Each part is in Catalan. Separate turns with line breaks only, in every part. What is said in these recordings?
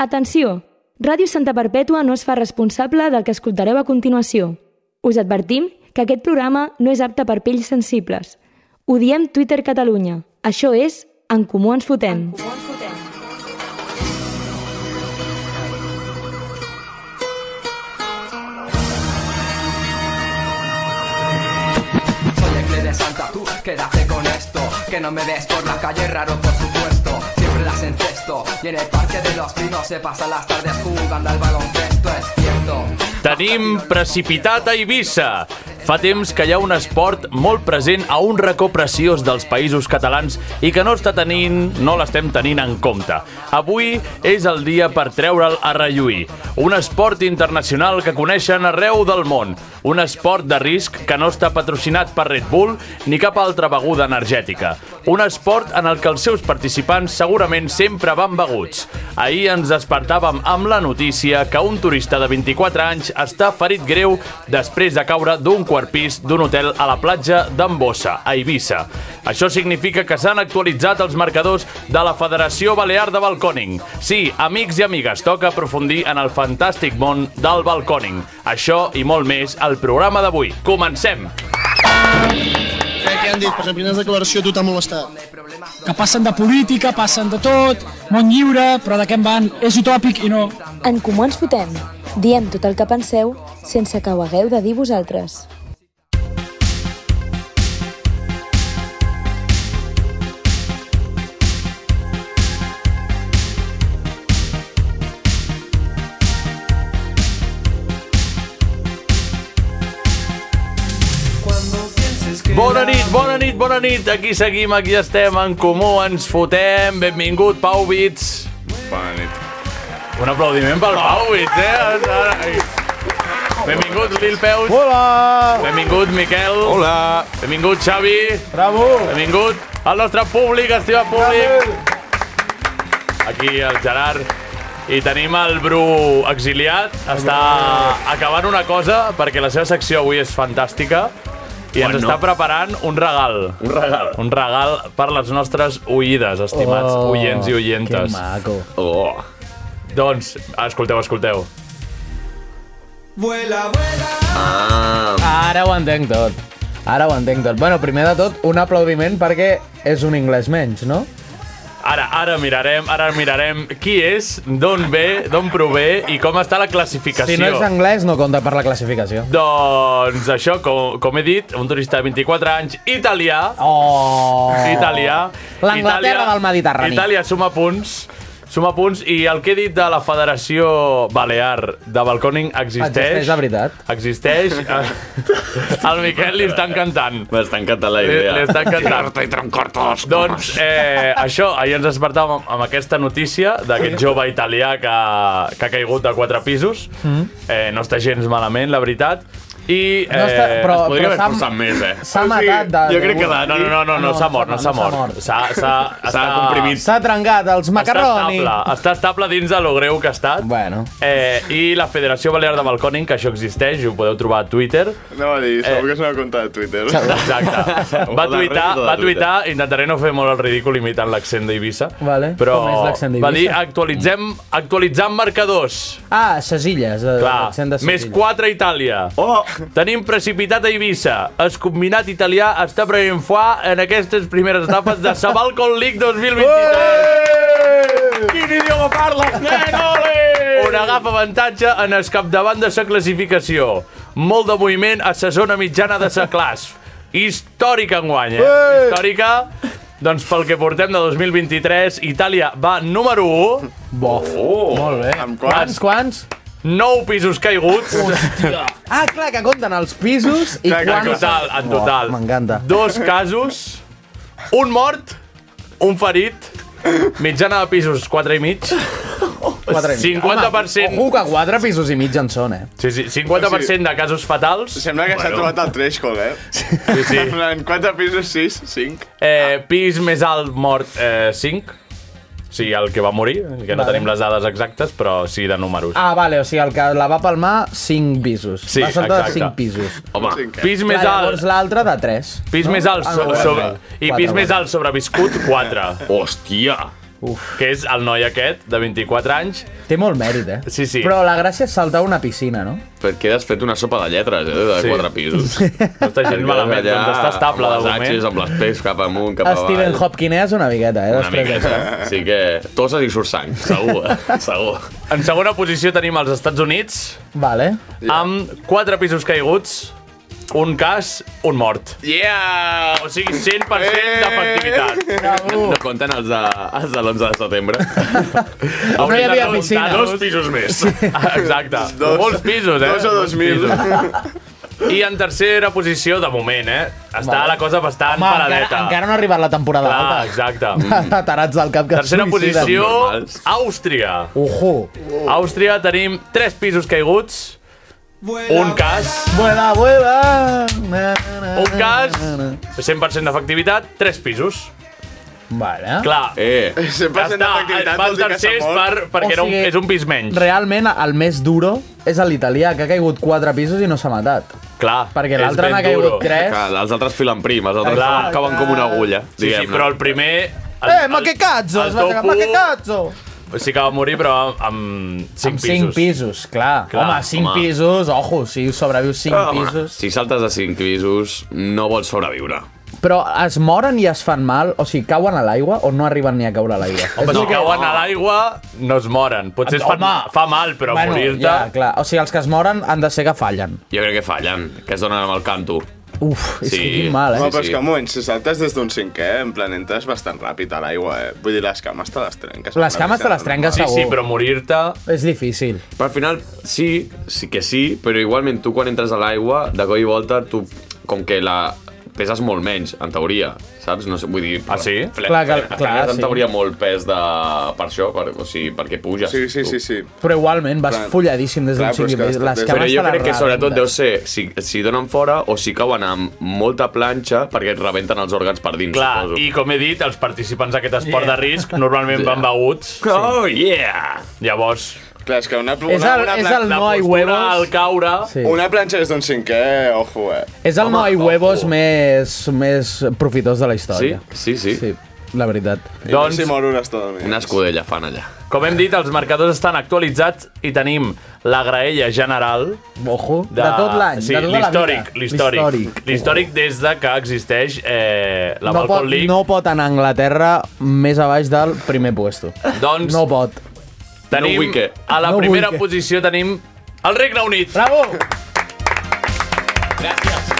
Atenció! Ràdio Santa Perpètua no es fa responsable del que escoltareu a continuació. Us advertim que aquest programa no és apte per pells sensibles. Ho diem Twitter Catalunya. Això és En Comú Ens Fotem.
Soy el Cle de Santa, tú quédate con esto. Que no me ves por la calle, raro por supuesto. Siempre las encesto. Y en el parque de los pinos se pasan las tardes jugando al baloncesto, es cierto.
Tenim precipitat a Eivissa. Fa temps que hi ha un esport molt present a un racó preciós dels països catalans i que no està tenint, no l'estem tenint en compte. Avui és el dia per treure'l a relluir. Un esport internacional que coneixen arreu del món. Un esport de risc que no està patrocinat per Red Bull ni cap altra beguda energètica. Un esport en el que els seus participants segurament sempre van beguts. Ahir ens despertàvem amb la notícia que un turista de 24 anys està ferit greu després de caure d'un quart pis d'un hotel a la platja d'Ambossa, a Eivissa. Això significa que s'han actualitzat els marcadors de la Federació Balear de Balconing. Sí, amics i amigues, toca aprofundir en el fantàstic món del balconing. Això i molt més al programa d'avui. Comencem!
Què, què han dit? Per exemple, quines declaracions a tu t'ha molestat?
que passen de política, passen de tot, món lliure, però de què en van? És utòpic i no.
En Comú Ens Fotem. Diem tot el que penseu sense que ho hagueu de dir vosaltres.
Bona nit, bona nit, bona nit! Aquí seguim, aquí estem, en comú, ens fotem. Benvingut, Pau Bits.
Bona nit.
Un aplaudiment pel Pau Bits, eh? Benvingut, Lil Peus.
Hola!
Benvingut, Miquel.
Hola!
Benvingut, Xavi.
Bravo!
Benvingut al nostre públic, estimat públic. Aquí el Gerard. I tenim el Bru exiliat. Està acabant una cosa, perquè la seva secció avui és fantàstica. I ens està preparant un regal. Un regal. Un regal per les nostres oïdes, estimats oients i oientes.
Oh, maco.
Oh. Doncs, escolteu, escolteu. Ah.
Ara ho entenc tot. Ara ho entenc tot. Bueno, primer de tot, un aplaudiment perquè és un anglès menys, no?
Ara, ara mirarem, ara mirarem qui és, d'on ve, d'on prové i com està la classificació.
Si no és anglès, no compta per la classificació.
Doncs això, com, com he dit, un turista de 24 anys, italià,
Oh!
italià...
L'Anglaterra
Itàlia-
del Mediterrani.
Itàlia suma punts, suma punts, i el que he dit de la Federació Balear de Balconing existeix.
Ah, Existeix de veritat.
Existeix. Eh, Al Miquel li està encantant.
M'està encantant la
Li,
idea.
li està encantant.
Estoy troncortos.
Doncs eh, això, ahir ens despertàvem amb, amb aquesta notícia d'aquest jove italià que, que ha caigut de quatre pisos.
Mm.
Eh, no està gens malament, la veritat. I, eh,
No està- però-
es podria
però
haver
s'ha-
forçat més, eh?
S'ha
O sigui,
matat de...
jo crec que la-
No, no, no, no, no s'ha mort, no s'ha mort. S'ha s'ha- està-
comprimit.
S'ha trencat els
Està
macarroni.
estable, està estable dins de lo greu que ha estat.
Bueno.
Eh, I la Federació Balear de Balcòning, que això existeix, ho podeu trobar a Twitter.
No va dir, segur
Eh.
que és una compte de Twitter.
Exacte. Va
O de
tuitar,
Reddit o de
va
Twitter.
tuitar, intentaré no fer molt el ridícul imitant l'accent d'Eivissa.
Vale.
Però
Com és l'accent d'Eivissa?
va dir actualitzem, actualitzant marcadors.
Ah, ses illes. eh, l'accent
Clar,
de ses
més
Illes.
4 a Itàlia.
Oh!
Tenim precipitat a Eivissa. Es combinat italià està prenent foie en aquestes primeres etapes de Sabalcon League 2023.
Quin idioma parles, nen?
on agafa avantatge en el capdavant de la classificació. Molt de moviment a la zona mitjana de la classe. Històrica enguany, eh? Històrica. Doncs pel que portem de 2023, Itàlia va número 1,
Bof. Molt bé.
Amb
Quants, quants?
quants?
9 pisos caiguts.
Ah, clar, que compten els pisos i
Clar, clar,
En
quants...
total, en total.
Oh, M'encanta.
Dos casos, un mort, un ferit, mitjana de pisos 4 i mig.
Quatre i mig.
50%.
Home, Ojo que quatre pisos i mig en són, eh?
Sí, sí, 50% de casos fatals.
Sembla que s'ha trobat el threshold, eh?
Sí, sí.
En plan, quatre pisos, sis, cinc.
Eh, pis més alt mort eh, 5. Sí, el que va morir, que no
Vale.
tenim les dades exactes, però sí de números.
Ah, vale, o sigui, el que la va palmar, 5 pisos.
Sí,
va saltar
exacte.
de 5 pisos.
Home. Cinc, eh?
Pis més
Clar, llavors
alt,
l'altre de Ah, 3.
pis més alt so,
quatre.
sobre, i
Quatre,
pis més
quatre.
alt sobreviscut 4.
Hòstia!
Uf.
que és el noi aquest, de 24 anys.
Té molt mèrit, eh?
Sí, sí.
Però la gràcia és saltar a una piscina, no?
Perquè has fet una sopa de lletres, eh, de
Sí.
sí. quatre pisos.
No està gens malament,
Allà,
doncs està estable de
amb els
moment.
axis, amb les pecs, cap amunt, cap
Cap
avall.
Steven Hopkins una miqueta, eh?
Una miqueta. Sí que toses i surt sang, segur, eh? segur.
En segona posició tenim els Estats Units,
Vale.
amb quatre pisos caiguts, un cas, un mort.
Yeah!
O sigui, 100%
Eh!
d'efectivitat.
uh,
No, no compten els de, els de l'11 de setembre.
No hi
Hauríem de
havia
remuntar
piscina.
Dos pisos més. Exacte.
Dos.
Molts pisos, eh?
Dos o dos
Molts
mil.
pisos. I en tercera posició, de moment, eh? Està
Vale.
la cosa bastant
Home, encara,
paradeta.
encara no ha arribat la temporada
Clar,
alta.
exacte.
De tarats del cap que es
Tercera
suïciden.
posició,
normals.
Àustria.
Ojo.
Oh.
Àustria tenim tres pisos caiguts, un cas,
Vuela, vuela. Na, na, na,
un cas,
na, na.
100% d'efectivitat, tres pisos.
Vale.
Clar,
Eh,
100% d'efectivitat
va el
vol dir que s'ha
tercer
mort.
per, perquè
O
era un,
sigui-
és un pis menys.
Realment, el més duro és l'italià, que ha caigut 4 pisos i no s'ha matat.
Clar,
Perquè
és
l'altre
ben
n'ha caigut
duro.
3.
clar, els altres filen prim, els altres
Clar.
acaben com una agulla,
Sí, sí,
diguem-ne.
però el primer... El,
Eh, ma que cazzo!
el
es va
top
dir, Ma que
u
cazzo!
Sí que va morir, però amb- amb 5
Amb
pisos.
5 pisos, clar.
Clar,
clar home, 5
home.
pisos, ojo, si sobrevius 5
Home,
pisos...
Si saltes de 5 pisos, no vols sobreviure.
Però es moren i es fan mal? O sigui, cauen a l'aigua o no arriben ni a caure a l'aigua?
Home,
És
si
el que-
cauen a l'aigua, no es moren. Potser es fa,
Home.
fa mal, però
bueno,
morir-te...
Ja, clar. O sigui, els que es moren han de ser que fallen.
Jo crec que fallen, que es donen amb el canto.
Uf, és
Sí.
que quin mal,
Home,
eh?
Sí,
però
sí.
és que un moment, si saltes des d'un cinquè, en plan, entres bastant ràpid a l'aigua, eh? Vull dir, les cames te les trenques.
Les cames te les trenques
Sí,
segur.
sí, però morir-te...
És difícil.
Però al final, sí, sí que sí, però igualment tu quan entres a l'aigua, de cop i volta, tu, com que la peses molt menys, en teoria, saps? No sé, vull dir...
Ah, sí?
Fle,
Clar
clar,
que-
clar,
clar,
en
sí.
teoria molt pes de, per això, per, o sigui, perquè puges.
Sí, sí,
tu.
sí, sí.
Però igualment vas
Clar.
folladíssim des d'un
Clar, però és
cinquè
que
pis.
està-
Les
des-
cames
Però
te
jo
les
crec que sobretot
rebenten.
deu ser si, si donen fora o si cauen amb molta planxa perquè et rebenten els òrgans per dins,
Clar,
suposo.
i com he dit, els participants d'aquest esport de risc normalment van beguts.
Oh, yeah!
Llavors,
Clar, és que una, una,
És el,
una,
és
plan-
el
la
no hay
postura al
huevos...
caure...
Sí.
una planxa des d'un cinquè, ojo, eh?
És el no hay huevos més, més profitós de la
Sí,
història.
sí, sí.
Sí, la veritat.
Doncs...
Doncs,
Si moro un estona.
Una escudella fan allà.
com hem dit, els marcadors estan actualitzats i tenim la graella general,
Ojo, de, de tot l'any,
sí,
de tota la vida.
l'històric, L'històric. L'històric des de que existeix eh, la
no,
Balcon
pot,
League.
no pot anar a Anglaterra més a baix del primer puesto.
Doncs
No pot.
No
tenim,
vull que.
a la
No vull
primera
que.
posició tenim el Regne Unit.
Bravo!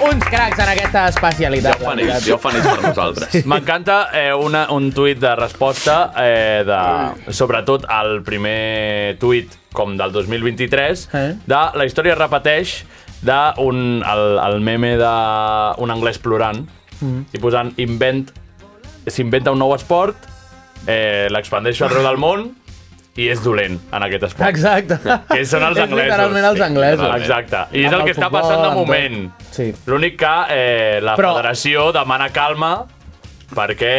Uns cracs en aquesta especialitat.
Ja ho fan ells, ja ho fan ells per nosaltres.
M'encanta eh, una, un tuit de resposta, eh, de, sobretot el primer tuit com del 2023,
Eh?
de la història es repeteix d'un el, el meme d'un anglès plorant
Mm.
i posant invent s'inventa un nou esport, eh, l'expandeixo arreu del món i és dolent en aquest esport.
Exacte.
Que són els
És
anglesos.
literalment els
Sí,
anglesos.
Exacte. I és
Amb
el
el
que està
futbol,
passant de
amb tot.
moment.
Sí.
L'únic que eh, la
Però-
federació demana calma perquè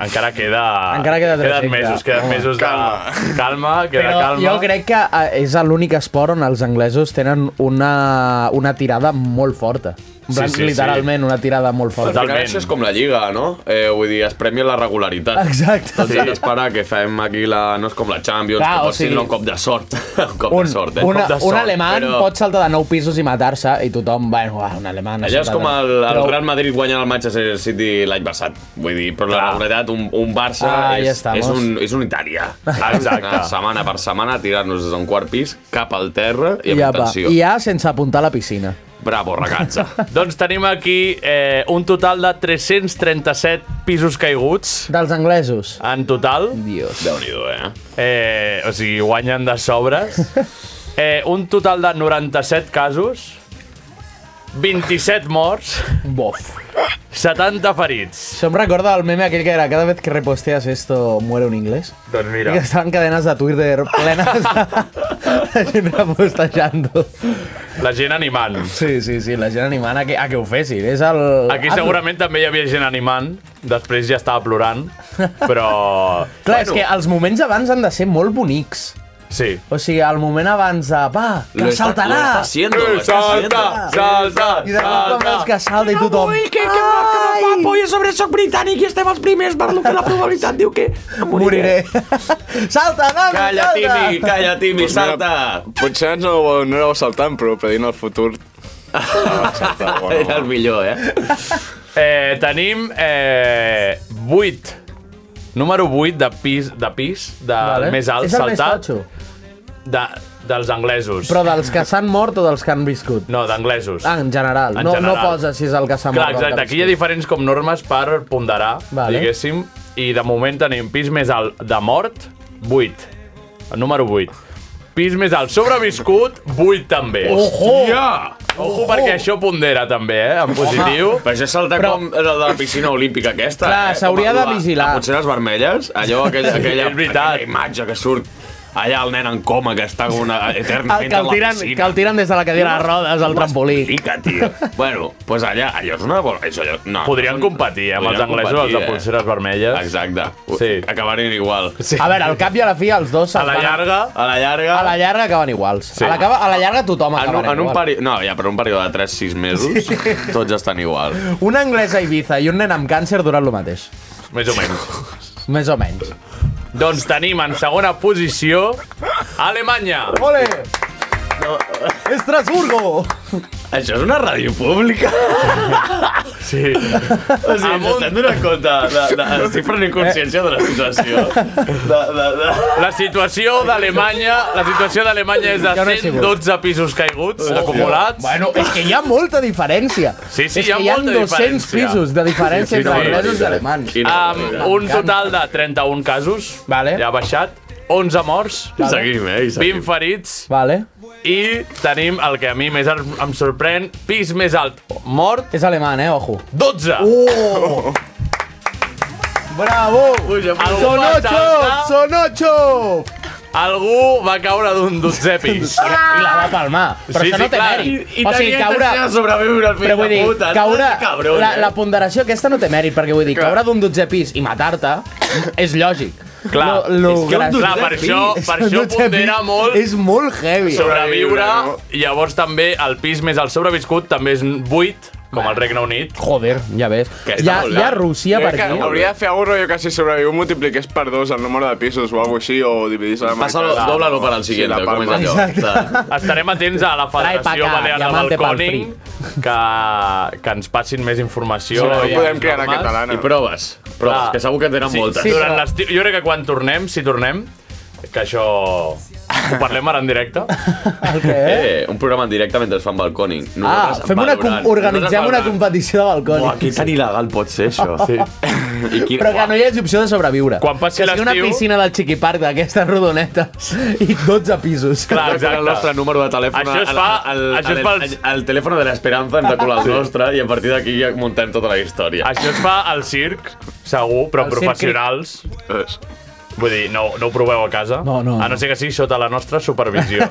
encara queda...
Encara queda tres,
queden
sí,
mesos,
clar.
queden mesos de...
Calma.
Calma, queda
Però
calma.
jo crec que eh, és l'únic esport on els anglesos tenen una, una tirada molt forta. En plan,
Sí, sí, sí.
literalment, una tirada molt forta.
Total.
Totalment. Això és com la Lliga, no? Eh, vull dir, es premia la regularitat.
Exacte.
Tots sí. esperar que fem aquí la... No és com la
Clar,
Champions, Clar,
o
que pots
sigui-
tindre un cop de sort. un cop
Un,
de sort, eh?
una,
un cop de
un
sort,
alemany
però
pot saltar de 9 pisos i matar-se i tothom, bueno, uah, un alemany... ha
Allò és
saltat
com
de-
el, el
Però-
Real Madrid guanyant el Manchester City l'any passat. Vull dir, però la
Clar.
regularitat, un, un Barça
Ah, ja
és,
estamos.
és, un, és un Itàlia.
Exacte.
Anar setmana per setmana, tirar-nos des d'un quart pis cap al terra i amb
Ja
ja,
va,
intenció.
i ja sense apuntar a la piscina.
Bravo, ragazza.
Doncs tenim aquí eh, un total de 337 pisos caiguts
Dels anglesos.
en total.
Dios.
déu nhi eh?
Eh, o sigui, guanyen de sobres. Eh, un total de 97 casos, 27 morts,
Bof.
70 ferits.
Això em recorda el meme aquell que era cada vez que reposteas esto muere un inglés.
Doncs
I que estaven cadenes de Twitter plenes de, de gent repostejant-ho.
la gent animant.
Sí, sí, sí, la gent animant a que, a que ho fessin. És el... Ah,
Aquí segurament també hi havia gent animant, després ja estava plorant, però...
Clar, és que els moments abans han de ser molt bonics.
Sí.
O sigui, al moment abans de... Va, que saltarà!
Lo está haciendo, lo está haciendo.
Salta, salta,
I de cop quan veus
salta.
que salta i tothom... Ai!
i a sobre soc britànic i estem els primers per lo que la probabilitat diu que
Moriré. salta, nano,
Calla,
salta!
Timi, calla, Timi,
Doncs
Pues mira,
salta.
Potser no, ho- no aneu saltant, però predint el futur... Ah, salta, bueno,
Era el millor, eh?
Eh, tenim eh, 8. Número 8 de pis, de pis, de vale. més alt,
És el més
saltat,
totxo.
de, dels anglesos.
Però dels que s'han mort o dels que han viscut?
No, d'anglesos.
Ah, en general.
En
no,
general.
no posa si és el que s'ha mort.
Clar, exacte, aquí hi ha diferents com normes per ponderar, vale.
Vale.
diguéssim, i de moment tenim pis més alt de mort, 8. El número 8. Pis més alt sobreviscut, 8 també.
Ojo!
Ja!
Ojo,
oh.
perquè això pondera també, eh, en positiu.
Però això és saltar
Però-
com la de la piscina olímpica aquesta.
Clar,
eh?
s'hauria
Com
de
la-
vigilar.
Les potseres vermelles, allò, aquella, aquella,
és veritat.
aquella imatge que surt allà el nen en coma que està una,
El Ah,
eternament
que el, tiren, que el tiren des de la cadira de rodes, al trampolí.
Fica, tio. bueno, doncs pues allà, allò és una... bona- És allò, no,
Podrien competir, eh, amb els
Podrien
anglesos, els
competir,
de
eh?
pulseres vermelles.
Exacte.
Sí.
Sí. Acabarien igual.
Sí.
A veure, al cap i a la fi els dos
A la
se'n van-
llarga...
A la llarga...
a la llarga acaben iguals.
Sí.
A, la, cava- a la llarga tothom
En un,
acabarà
en un
igual.
període... No, ja, però en un període de 3-6 mesos, tots estan igual.
Una anglesa a Ibiza i un nen amb càncer durant el mateix.
Més o menys.
Més o menys.
doncs tenim en segona posició Alemanya.
Ole! Estrasburgo!
Això és una ràdio pública?
Sí.
O sigui,
Amb
Amb
un-
estem donant compte de, de, Estic prenent consciència de la situació. De, de, de...
La situació d'Alemanya, la situació d'Alemanya és de
Jo no he sigut.
112 pisos caiguts acumulats.
Bueno, és que hi ha molta diferència.
Sí, sí,
és
hi ha
que hi ha
molta
200
diferència.
pisos de diferència
Sí, sí,
entre
sí.
anglesos i alemans.
Quina eh? barbaridad.
Amb un total de 31 casos,
Vale.
ja ha baixat, 11 morts,
Seguim, eh? i Seguim.
20 ferits,
Vale.
i tenim el que a mi més em em sorprèn, pis més alt mort,
És alemán, eh? Ojo.
12.
Uh,
Oh! Bravo!
Algú
Son
va
ocho!
saltar,
Son ocho!
Algú va caure d'un 12 pis.
I la, i la va palmar. Ah,
Sí,
Però
sí,
això no té
clar.
mèrit.
I, i o sigui, caure... de sobreviure al fill
Però vull dir,
de puta.
caure...
no? Cabron,
la,
eh?
la ponderació aquesta no té mèrit, perquè vull dir, caure d'un 12 pis i matar-te és lògic.
Clar,
lo, lo
és que un
graciós-
Clar, per això, per això
Un 12
pondera
pis
molt
És molt heavy.
sobreviure.
no?
Llavors també el pis més alt sobreviscut també és 8, com el Regne Unit.
Joder, ja ves.
Que està
Hi ha, hi
molt
ha
llarg.
Rússia per
Crec que
aquí.
hauria de fer algun rotllo que si sobreviu multipliqués per dos el número de pisos o alguna així, o dividís la marca.
Passa-lo, dobla-lo per al siguiente,
la
com és
palma.
allò. Exacte.
Estarem atents a la
Trae
Federació
pa' acá,
Balear
diamante
del
pa'l
Còning, que, que ens passin més informació.
No
i
podem
més
crear la
normes.
catalana.
I proves, proves,
Clar.
que segur que en tenen
Sí,
moltes.
sí, durant l'estiu, jo crec que quan tornem, si tornem, que això ho parlem ara en directe,
El què?
Eh, un programa en directe mentre es fan balconing.
Ah,
Nosaltres
fem una, com-
valorant.
organitzem
Nosaltres
una
valorant.
competició de
Buah,
balcons.
que tan il·legal pot ser això.
Sí.
I quin...
Però que no hi hagi opció de sobreviure.
Quan passi
Que sigui una
l'estiu-
piscina del Chiqui Park d'aquestes rodonetes i 12 pisos.
Clar,
Exacte. el nostre
exacte.
número de telèfon
Això es
al-
fa-
al,
això es
al,
fa
al,
als-
al telèfon de l'esperança ens de colar el nostre i a partir d'aquí ja muntem tota la història.
Això es fa al circ, segur, però
Al
amb
circ-
professionals. Vull dir, no, no ho proveu a casa.
No, no,
A no
no.
ser que sigui sota la nostra supervisió.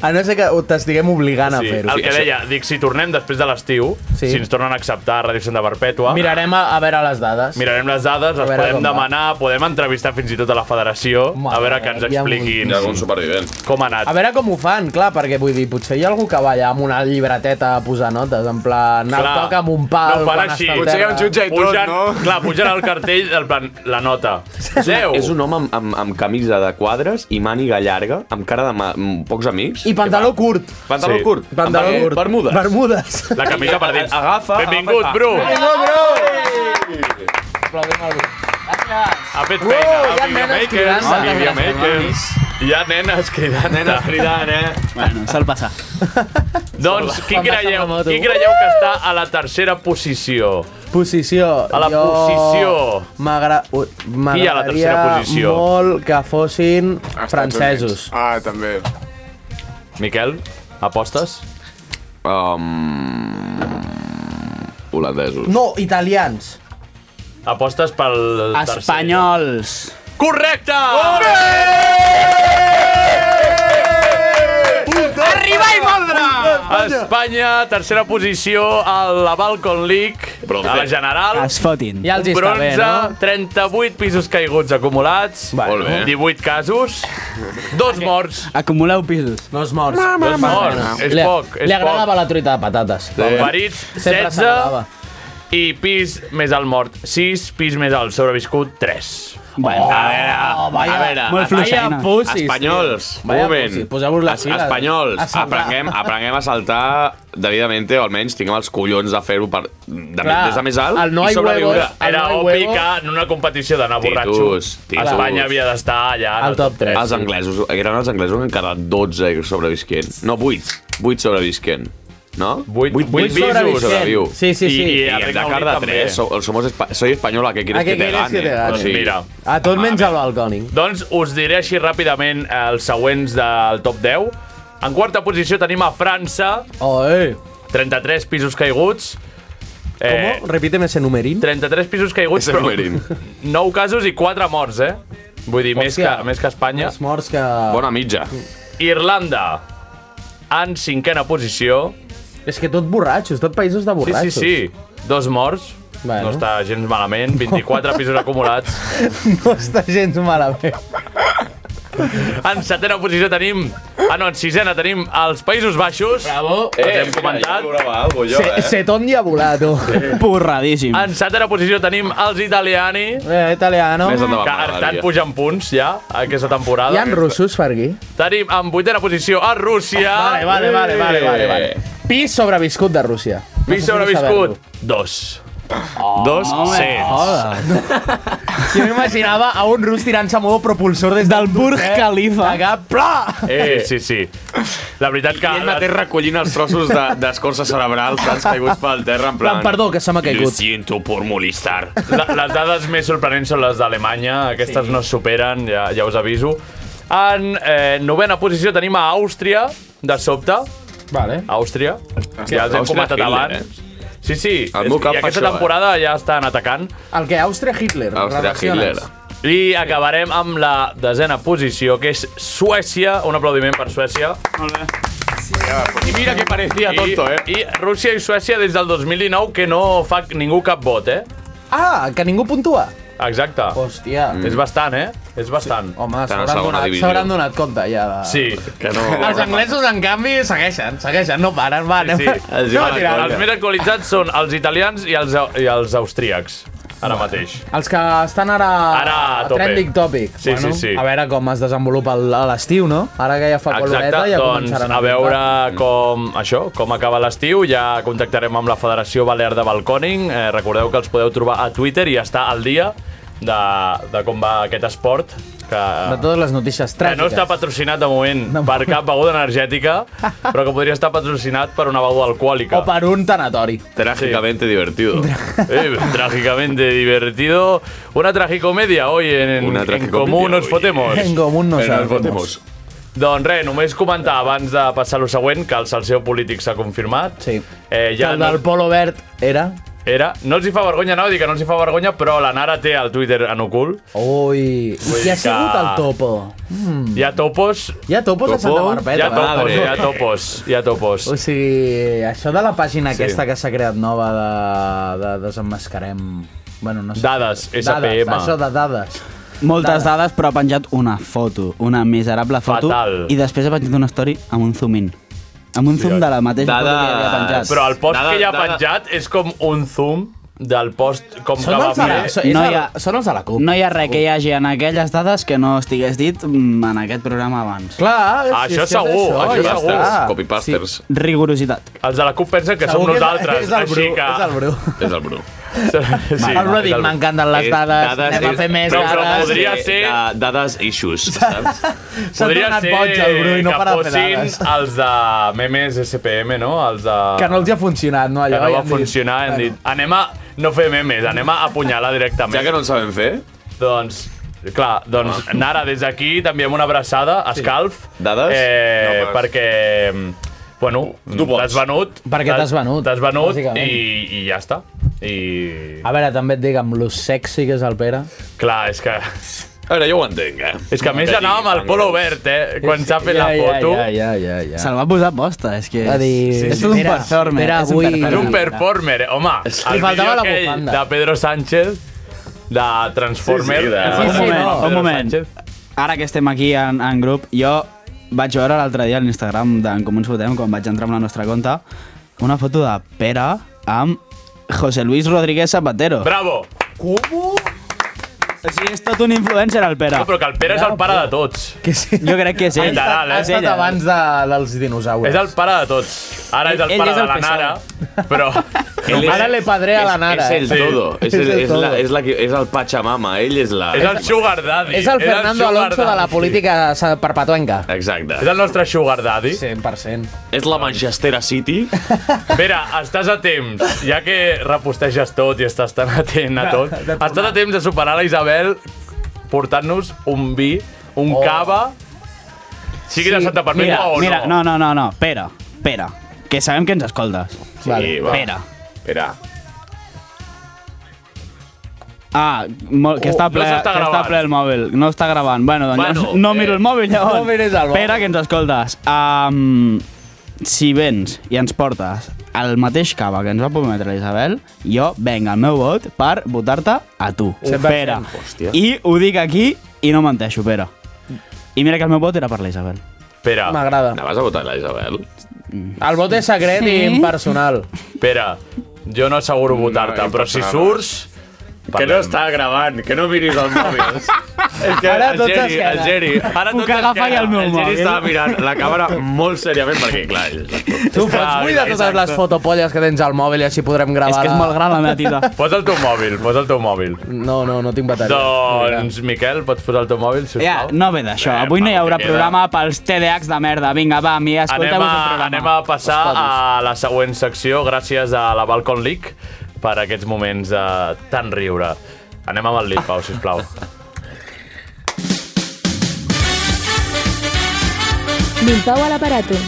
A no ser que ho t'estiguem obligant
Sí,
a fer-ho.
el que deia, dic, si tornem després de l'estiu,
Sí.
si ens tornen a acceptar a Ràdio Santa Perpètua,
Mirarem a, a veure les dades.
mirarem les dades, les
veure
podem
com va.
demanar, podem entrevistar fins i tot a la federació, a
Mare
veure que ens
meva, hi ha un-
expliquin
Hi ha algun supervivent.
com ha anat.
A veure com ho fan, clar, perquè vull dir, potser hi ha algú que va allà amb una llibreteta a posar notes, en plan,
Clar.
clar, toca amb un pal
No ho fan
quan
així.
està a
Potser hi ha
terra.
un jutge i tot,
Pugen,
no?
clar, pugen al cartell, el plan, la nota. 10.
És un home amb, amb, amb camisa de quadres i màniga llarga, amb cara de ma, amb pocs amics.
I pantaló curt.
Pantaló
Sí.
curt.
Pantaló
Amb-
curt.
Bermudes.
Bermudes.
La camisa per dins.
Agafa,
Benvingut,
agafa.
Bru.
Aplaudim al grup.
Ha fet feina.
Uau, hi ha nenes
videomakers,
cridant.
videomakers. Hi ha nenes cridant.
Nenes cridant, eh?
Bueno, sol passar.
Doncs, qui
Quan vas amb la
creieu,
moto.
qui creieu que està a la tercera posició?
Posició.
A la posició.
M'agra- u-
Qui hi ha a la tercera
m'agradaria
posició?
molt que fossin
Estats
francesos.
Units. Ah, també.
Miquel, apostes?
Um... Holandesos.
No, italians.
Apostes pel tercer.
Espanyols.
Correcte!
Arriba i moldre!
Espanya, tercera posició a la Balcon League.
Bronze.
A la general,
Es fotin.
Ja els hi Ah, està bé,
bronze,
no?
38 pisos caiguts acumulats,
Va.
Molt bé.
18 casos, dos morts.
Acumuleu pisos.
Dos morts.
Dos morts, és
li,
poc, és
li
poc.
agradava la truita de patates.
Ferits,
Sempre
16,
s'agradava.
i pis més alt mort, 6, pis més alt sobreviscut, 3.
Bueno,
a
Oh.
veure, a veure.
molt fluixaina.
pussis,
Espanyols,
tio.
un
Vaya
moment.
pussis, Poseu-vos les
Es-
piles.
Espanyols,
A saltar.
aprenguem, aprenguem a saltar debidament, o almenys tinguem els collons de fer-ho per- de,
Clar,
des de més alt
el noi
i sobreviure.
huevos-
Era
El noi
obvi
huevo.
que en una competició d'anar borratxo,
Titus, titus.
Espanya havia d'estar allà.
Al top 3.
Els anglesos, eren els anglesos que han quedat 12 sobrevisquent. No, 8. 8 sobrevisquent. No?
8, 8,
Vuit
8 pisos.
sobrevisquents.
sobreviu.
Sí, sí, sí.
I, i,
I
a
el
Regne
Dakar
Unit
de
també.
3, so, somos espa soy española, ¿qué quieres
¿A qué
que te
quieres
gane?
que te gane?
O
Doncs
sigui,
mira,
A tot
A
menys
veure.
el balcòning.
Doncs us diré així ràpidament els següents del top 10. En quarta posició tenim a França,
Oh, eh.
33 pisos caiguts. Eh,
¿Cómo? Repíteme ese numerín.
33 pisos caiguts,
Ese
però
numerín.
9 casos i 4 morts, eh? Vull dir, més que,
Hòstia.
més que Espanya.
Els morts que...
Bona mitja.
Irlanda, en cinquena posició.
És que tot borratxos, tot països de
Sí, sí,
borratxos.
sí. Dos morts. No
Bueno.
està gens malament. 24 pisos acumulats.
sí. No està gens malament.
En setena posició tenim... Ah, no, en sisena tenim els Països Baixos.
Bravo.
Eh, hem comentat.
Jo, se, eh? se ton diabolat, oh. tu.
Porradíssim.
En setena posició tenim els italiani,
Eh, italiano.
Més endavant,
que estan
m'agradaria.
pujant punts ja, aquesta
Hi
temporada.
ha russos per aquí.
Tenim en vuitena posició a Rússia.
Ah, Vale, vale,
Eh.
vale, vale, vale, vale. Pis sobreviscut de Rússia.
Pis
Necessito
sobreviscut.
saber-ho.
Dos.
Dos
Ah,
cents.
Hola. Jo m'imaginava a un rus tirant-se a modo propulsor des del Burj
Khalifa.
Allà, pla!
Eh, sí, sí. La veritat que...
I ell mateix recollint els trossos de- d'escorça cerebral que han caigut pel terra, en
Ah,
plan...
Plan, perdó, que se m'ha
Lo
caigut.
siento por molestar.
La- Les dades més sorprenents són les d'Alemanya, aquestes sí. no es superen, ja, ja us aviso. En eh, novena posició tenim a Àustria, de sobte.
Vale.
Àustria, eh? que ja els hem
Àustria
comentat
Hitler,
abans. Sí, sí,
El meu cap
i
fa
aquesta
això, eh?
temporada ja estan atacant.
El que Àustria-Hitler.
Àustria,
relaciones.
Hitler.
I acabarem amb la desena posició, que és Suècia. Un aplaudiment per Suècia.
I mira que parecía tonto, eh?
I Rússia i Suècia des del 2019 que no fa ningú cap vot, eh?
Ah, que ningú puntua.
Exacte.
Hòstia.
És bastant, eh? És bastant.
Home,
Estan a
s'hauran
segona
donat,
divisió.
s'hauran donat compte ja de...
Sí.
Que no...
Els anglesos, en canvi, segueixen, segueixen, no paren, van.
Sí, sí.
Els hi
No,
va la
tirant.
colla.
Els més actualitzats són els italians i els, i els austríacs, ara mateix.
Els que estan ara,
Ara a
a
tope.
trending topic.
Sí, sí, sí.
A veure com es desenvolupa el- a l'estiu, no? Ara que ja fa
Exacte,
caloreta ja
doncs
començaran
a veure com, això, com acaba l'estiu. Ja contactarem amb la Federació Balear de Balconing. Eh, recordeu que els podeu trobar a Twitter i estar al dia de, de com va aquest esport. Que,
De totes les notícies
que no
tràgiques.
està patrocinat de moment per cap beguda energètica, però que podria estar patrocinat per una beguda alcohòlica.
O per un tanatori.
Trágicamente divertido.
Eh, trágicamente divertido. Una tragicomedia hoy en,
Una
en
tragicomedia
Comú nos
hoy.
fotemos.
En comú no
Però ens
sabem.
votemos.
Doncs res, només comentar abans de passar lo següent que el salseo polític s'ha confirmat.
Sí.
Eh,
Ja
ja
el
no,
del Polo Verd era...
era, no els hi fa vergonya, no, dir que no els hi fa vergonya, però la Nara té el Twitter en ocult.
Ui,
Vull
hi
dir
ha sigut
que-
el topo. Mm.
Hi ha topos,
Hi ha topos a Santa Barbeta.
hi ha
va.
topos, hi ha topos, hi ha topos.
O sigui, això de la pàgina sí. aquesta que s'ha creat nova de, de desenmascarem... Bueno, no sé.
Dades, SPM.
Dades, això de dades.
Moltes dades, però ha penjat una foto, una miserable foto.
Fatal.
I després ha penjat una story amb un zoom in. Amb un zoom de la mateixa
Dades.
foto que havia penjat.
Però el post
Nada-
que ja ha
nada-
penjat és com un zoom del post com que
Són
va
els, de la,
fer.
so- és
No
el-
hi ha-
són els de la CUP.
No hi ha res que hi hagi en aquelles dades que no estigués dit mm, en aquest programa abans.
Clar,
Ah, Això
és
segur, això
ja
segur.
Ah,
està.
Copypasters.
Rigorositat.
Els de la CUP pensen que
Segur
som
que és-
nosaltres,
és el Bru,
així que...
És el Bru.
És el Bru.
Sí,
El Bru ha dit,
és el-
m'encanten les
És
dades, anem a
és-
fer més
Però- però
dades.
podria
de-
ser-
de- dades issues, saps?
S'ha tornat boig el Bru i no
que
para de fer
fossin
dades.
els de memes SPM, no? Els de...
Que no els hi ha funcionat, no,
que
allò?
no
i
va
han dit-
funcionar, hem dit, anem a no fer memes, anem a apunyalar directament.
Ja que no en sabem fer,
Doncs, clar, doncs, Nara, des d'aquí t'enviem una abraçada, escalf.
Dades?
Eh,
No, però-
perquè, mm, bueno,
Tu pots.
t'has venut.
Perquè t'has venut,
T'has venut
bàsicament.
i, i ja està. I,
A veure, també et dic, amb lo sexy que és el Pere.
clar, és que...
A veure, jo ho entenc, eh?
És que a més anava amb el polo verd, eh? Quan s'ha fet la foto...
Ja, ja, ja, ja. Se'l va posar a posta, és que...
Va dir,
és, és
sí,
tot un
espera,
performer.
espera,
és
avui-
un performer.
És un performer, eh? home. El vídeo
faltava la
aquell
bufanda.
de Pedro Sánchez, de Transformer...
Sí, sí, de-
es va
Un
convertir en
moment,
Pedro
un moment.
Sánchez.
Ara que estem aquí en, en grup, jo vaig veure l'altre dia a l'Instagram d'en Comú Ens Fotem, quan vaig entrar amb la nostra conta, una foto de Pere amb José Luis Rodríguez Zapatero.
Bravo!
Com? O sigui, és tot un influencer, el Pere.
No, però que el Pere és el pare de tots.
Que sí. Jo crec que és ell.
Literal, eh?
Ha estat abans de, dels dinosaures.
És el pare de tots. Ara és el
Ell
pare
és
de
el
la
PSOE.
Nara, però...
Ell és-
Ara le padré a la Nara. eh?
És el todo. És, el, és, la, és, la, que- és el Pachamama. Ell és la...
És el sugar daddy.
És el Fernando
sugar
Alonso de la
daddy.
política sa- perpetuenca.
Exacte.
És el nostre sugar daddy.
100%.
És la Manchester City.
Vera, estàs a temps, ja que reposteges tot i estàs tan atent a tot, estàs a temps de superar la Isabel portant-nos un vi, un
Oh.
cava, sigui de Santa Perpètua
mira,
o no.
mira, no, no, no, no. Pere, Pere, que sabem que ens escoltes.
Sí, Vale. va.
Pere.
Espera.
Ah, molt,
Uh,
que, està
Oh, no
ple,
s'està
que està
gravant.
ple el mòbil. No està gravant. Bueno, doncs
Bueno,
bueno, no miro
eh,
el mòbil, llavors.
eh, no mires el mòbil.
Pere, que ens escoltes. Um, si vens i ens portes el mateix cava que ens va prometre la Isabel, jo venc al meu vot per votar-te a tu,
Cent per
Pere.
cent. Hòstia.
I ho dic aquí i no menteixo, Pere. I mira que el meu vot era per la Isabel.
Pere.
M'agrada.
Anaves a votar la Isabel?
El vot és secret sí. i impersonal.
Pere, jo no asseguro votar-te,
no
però si
passa res.
surts...
Que no està gravant, que no miris el mòbil. És que
Ara
el
tot
Geri,
s'esquerra.
el Geri, ara
Puc
tot
agafar
s'esquerra.
ja el meu mòbil.
Geri estava mirant la càmera molt seriament perquè, clar...
Tu pots buidar totes les fotopolles que tens al mòbil i així podrem gravar. la-
Posa el teu mòbil, posa el teu mòbil.
No, no, no tinc bateria.
Doncs, Miquel, pots posar el teu mòbil, sisplau?
Ja, no ve d'això. Avui no hi haurà
queda.
programa pels TDAHs de merda. Vinga, va, mi,
Anem
escolteu-vos el
a,
programa.
anem a passar a la següent secció gràcies a la Balcon League per aquests moments eh, tan riure. Anem amb el Lil Pau, sisplau.
Limpau a l'aparato.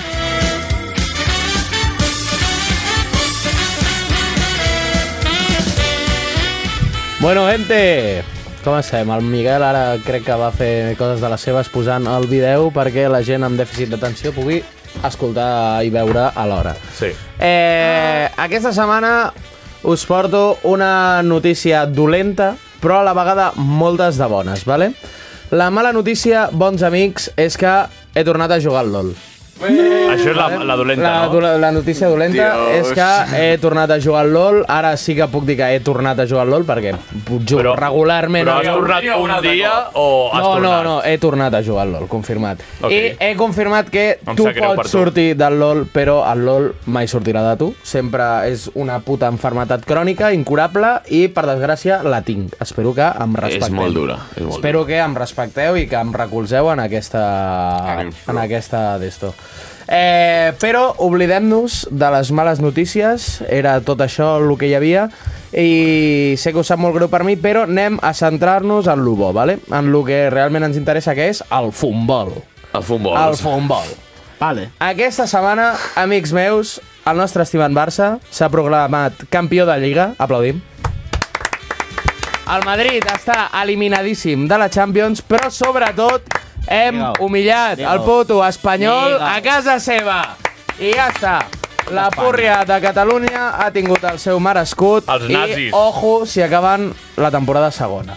Bueno, gente, com estem? El Miguel ara crec que va fer coses de les seves posant el vídeo perquè la gent amb dèficit d'atenció pugui escoltar i veure alhora.
Sí.
Eh, aquesta setmana us porto una notícia dolenta, però a la vegada moltes de bones, vale? La mala notícia, bons amics, és que he tornat a jugar al LOL.
Això és la, la dolenta,
la,
no?
do- la notícia dolenta
Dios.
és que he tornat a jugar al LOL. Ara sí que puc dir que he tornat a jugar al LOL perquè jugo però, regularment.
Però
al
has
LOL.
tornat un dia o has
No, no,
tornat?
no, he tornat a jugar al LOL, confirmat.
Ok.
I he confirmat que
Em
tu
sap greu per
pots
tu.
sortir del LOL, però el LOL mai sortirà de tu. Sempre és una puta enfermetat crònica, incurable, i per desgràcia la tinc. Espero que em respecteu.
molt dura, és molt
Espero que em respecteu i que em recolzeu en aquesta... En aquesta d'esto. Eh, però oblidem-nos de les males notícies, era tot això el que hi havia, i sé que us sap molt greu per mi, però anem a centrar-nos en lo bo, vale? en lo que realment ens interessa, que és el futbol.
El futbol.
El futbol.
Vale.
Aquesta setmana, amics meus, el nostre estimat Barça s'ha proclamat campió de Lliga. Aplaudim. El Madrid està eliminadíssim de la Champions, però sobretot hem
Digue-ho.
humillat el
Digue-ho.
puto espanyol
Digue-ho.
a casa seva. I ja està. La púrria de Catalunya ha tingut el seu merescut
Els
i,
nazis.
ojo, si acaben la temporada segona.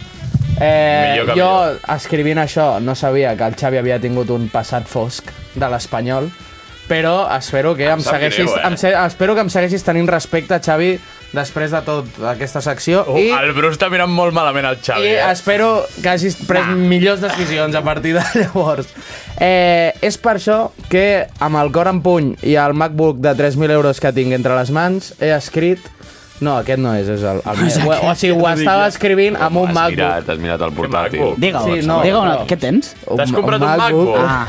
Eh,
Millor que
jo, escrivint això, no sabia que el Xavi havia tingut un passat fosc de l'Espanyol, però espero que em,
sap
segueixis,
greu, eh?
em, se, espero que em segueixis tenint respecte, Xavi, després de tot aquesta secció.
Uh,
I,
El Bru està mirant molt malament el Xavi.
i
eh?
espero que hagis pres millors decisions a partir de llavors. Eh, és per això que, amb el cor en puny i el MacBook de 3.000 euros que tinc entre les mans, he escrit... No, aquest no és, és el, el meu. O, o sigui, ho estava escrivint amb un
Has
MacBook.
mirat, has mirat el portàtil.
Digue-ho,
Sí,
sí, no,
no,
digue
no.
no. què tens?
T'has
comprat un MacBook?
Ah,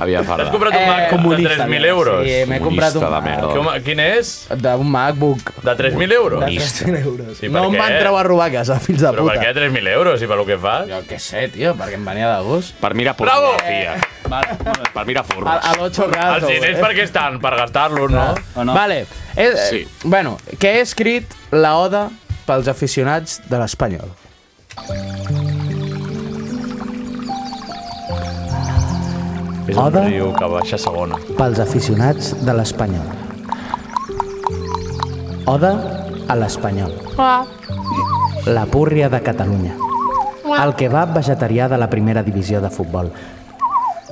Havia farda.
Has comprat un MacBook de 3.000 euros.
Eh, Sí, m'he comprat un
Comunista de merda.
Que, home, Quin és?
D'un MacBook.
De 3.000 euros?
De 3.000 euros.
Sí, per
no em
què?
van treure a robar a casa, fills de
Però per
puta.
què 3.000 euros i per lo que fas?
Jo què sé, tio, perquè em venia de gust.
Per mirar
Bravo!
Eh,
pornografia. Per mirar
A,
furros.
a l'8 caso.
Els diners per què estan? Per gastar-los, Ah, no?
Vale. Eh, eh,
Sí.
Bueno, que he escrit la oda pels aficionats de l'Espanyol.
És un
Oda.
riu que baixa a segona.
pels aficionats de l'Espanyol. Oda a l'Espanyol, la púrria de Catalunya. El kebab vegetarià de la primera divisió de futbol.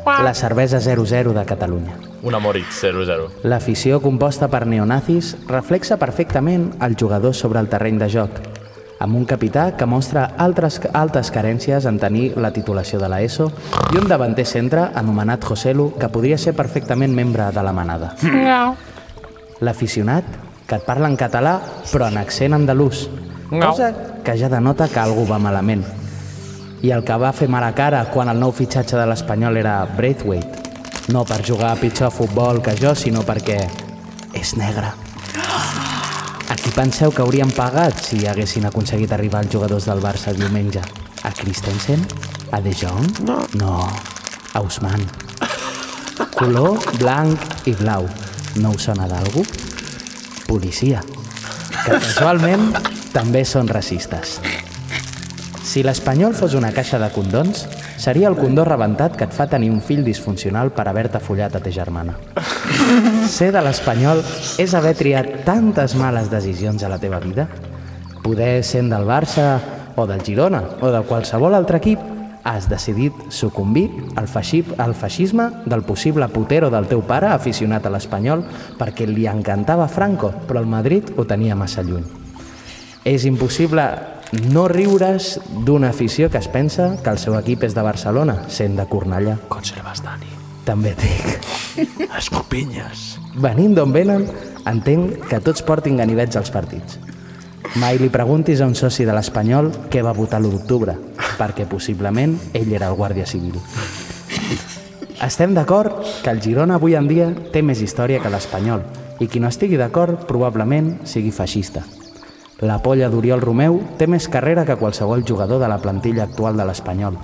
La cervesa 00 de Catalunya.
Un amorit 0-0.
L'afició composta per neonazis reflexa perfectament el jugador sobre el terreny de joc, amb un capità que mostra altres, altes carències en tenir la titulació de l'ESO i un davanter centre anomenat Joselu que podria ser perfectament membre de la manada. L'aficionat que et parla en català però en accent andalús, cosa que ja denota que algú va malament. I el que va fer mala cara quan el nou fitxatge de l'Espanyol era Braithwaite, no per jugar a pitjor a futbol que jo, sinó perquè és negre. A qui penseu que haurien pagat si haguessin aconseguit arribar els jugadors del Barça diumenge? A Christensen? A De Jong? No. No. A Ousmane. Color blanc i blau. No us sona d'algú? Policia. Que casualment també són racistes. Si l'espanyol fos una caixa de condons, seria el condó rebentat que et fa tenir un fill disfuncional per haver-te follat a ta germana. Ser de l'espanyol és haver triat tantes males decisions a la teva vida. Poder sent del Barça o del Girona o de qualsevol altre equip, has decidit sucumbir al, faxi al feixisme del possible putero del teu pare aficionat a l'espanyol perquè li encantava Franco, però el Madrid ho tenia massa lluny. És impossible no riure's d'una afició que es pensa que el seu equip és de Barcelona, sent de Cornellà. Conserves, Dani. També et dic. Escopinyes. Venint d'on venen, entenc que tots portin ganivets als partits. Mai li preguntis a un soci de l'Espanyol què va votar l'1 d'octubre, perquè possiblement ell era el Guàrdia Civil. Estem d'acord que el Girona avui en dia té més història que l'Espanyol i qui no estigui d'acord probablement sigui feixista. La polla d'Oriol Romeu té més carrera que qualsevol jugador de la plantilla actual de l'Espanyol.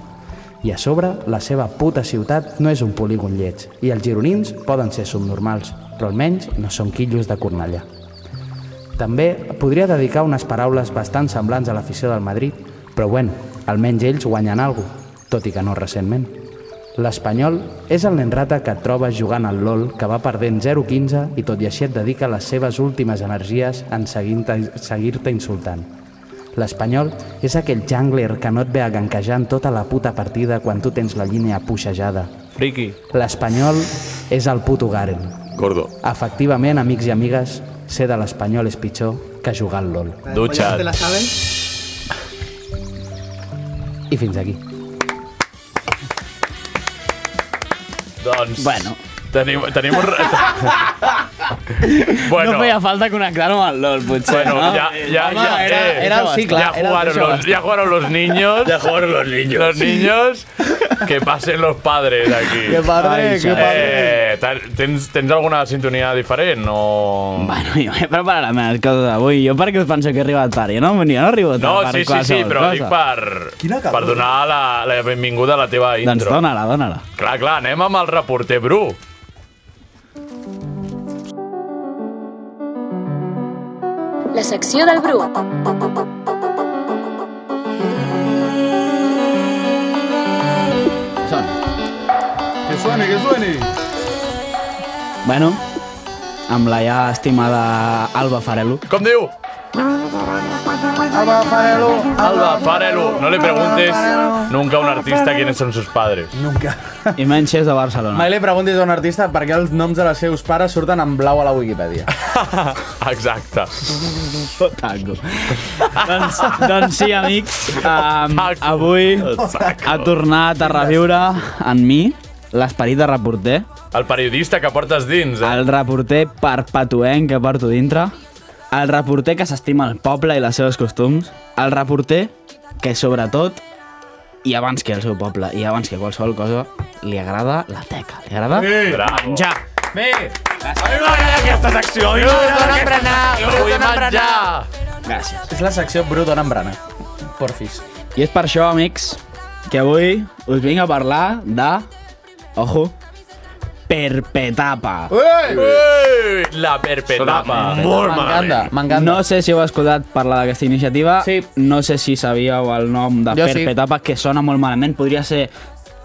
I a sobre, la seva puta ciutat no és un polígon lleig, i els gironins poden ser subnormals, però almenys no són quillos de Cornellà. També podria dedicar unes paraules bastant semblants a l'afició del Madrid, però bueno, almenys ells guanyen alguna tot i que no recentment. L'Espanyol és el nen rata que et trobes jugant al LOL, que va perdent 0-15 i tot i així et dedica les seves últimes energies en seguir-te seguir insultant. L'Espanyol és aquell jungler que no et ve a ganquejar en tota la puta partida quan tu tens la línia puxejada.
Friki.
L'Espanyol és el puto Garen.
Gordo.
Efectivament, amics i amigues, ser de l'Espanyol és pitjor que jugar al LOL.
Dutxa't.
I fins aquí.
Doncs... Bueno. Tenim, tenim un... re-
Bueno. No feia falta connectar-ho amb el LOL, potser,
Bueno,
no?
ya, ya,
Home,
ya,
era,
eh,
era el cicle.
Ya
era
jugaron,
el
los, ya jugaron los niños. Ya jugaron los niños. Los niños. Que pasen los padres aquí.
Que padre, Ai, que xaval. padre.
Eh, tal- tens, tens alguna sintonia diferent o...?
Bueno, jo m'he preparat les meves coses avui. Jo perquè us penso que he arribat tard. Jo no, jo no arribo tard
No,
per
sí, sí, sí,
qualsevol
però
cosa.
dic per, per donar la, la benvinguda a la teva intro.
Doncs dóna-la, dóna-la.
Clar, clar, anem amb el reporter Bru.
La secció del Bru.
Que suene, que suene.
Bueno, amb la ja estimada Alba Farelo.
Com diu?
Alba, farelo.
Alba Farelo. No le preguntes nunca a un artista quiénes son sus padres.
Nunca.
I menys és de Barcelona.
Mai li preguntis a un artista per què els noms de les seus pares surten en blau a la Wikipedia.
Exacte.
Tango. doncs, doncs sí, amics, um, avui ha tornat a reviure en mi l'esperit de reporter,
El periodista que portes dins,
Ah,
eh?
el reporter perpetuent que porto dintre, el reporter que s'estima el poble i les seves costums, el reporter que sobretot i abans que el seu poble i abans que qualsevol cosa li agrada la teca, li agrada
Sí. Bravo.
menjar.
Bé, a mi m'agrada aquesta secció. A mi m'agrada
Dona Bru,
aquesta secció. Vull
dona
menjar.
Gràcies.
És la secció Bru dona embrana. Porfis.
I és per això, amics, que avui us vinc a parlar de... Ojo, perpetapa.
Ei! La perpetapa.
Molt
M'encanta,
m'encanta. No sé si heu escoltat parlar d'aquesta iniciativa, sí. no sé si sabíeu el nom de
Jo sí.
perpetapa, que sona molt malament, podria ser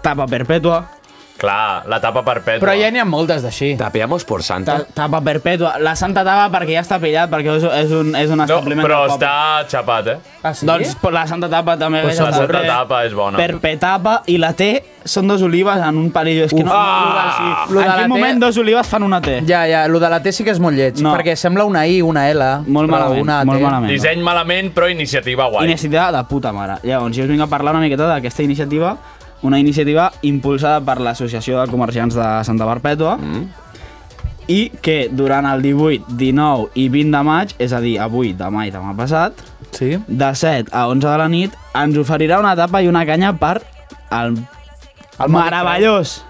tapa perpètua,
Clar, la tapa perpètua.
Però ja n'hi ha moltes d'així.
Tapeamos por Santa.
Ta tapa perpètua. La Santa tapa perquè ja està pillat, perquè és, és un, és un
No,
establiment
però
del poble.
està xapat, eh?
Ah,
Doncs però la Santa Tapa també...
Pues
ve de
la Santa
Torre.
Tapa és bona.
Perpetapa i la T són dos olives en un perill. És que no,
Ah!
en quin moment dos olives fan una T?
Ja, ja, lo de la T sí que és molt lleig,
No.
perquè sembla una I, una L, molt
malament,
una
molt
T.
malament.
Disseny malament, però iniciativa guai.
Iniciativa de puta mare. Llavors, jo us vinc a parlar una miqueta d'aquesta iniciativa, una iniciativa impulsada per l'Associació de Comerciants de Santa Barpètua, mm. i que durant el 18, 19 i 20 de maig, és a dir, avui, demà i demà passat,
sí.
de 7 a 11 de la nit, ens oferirà una tapa i una canya per el, el meravellós,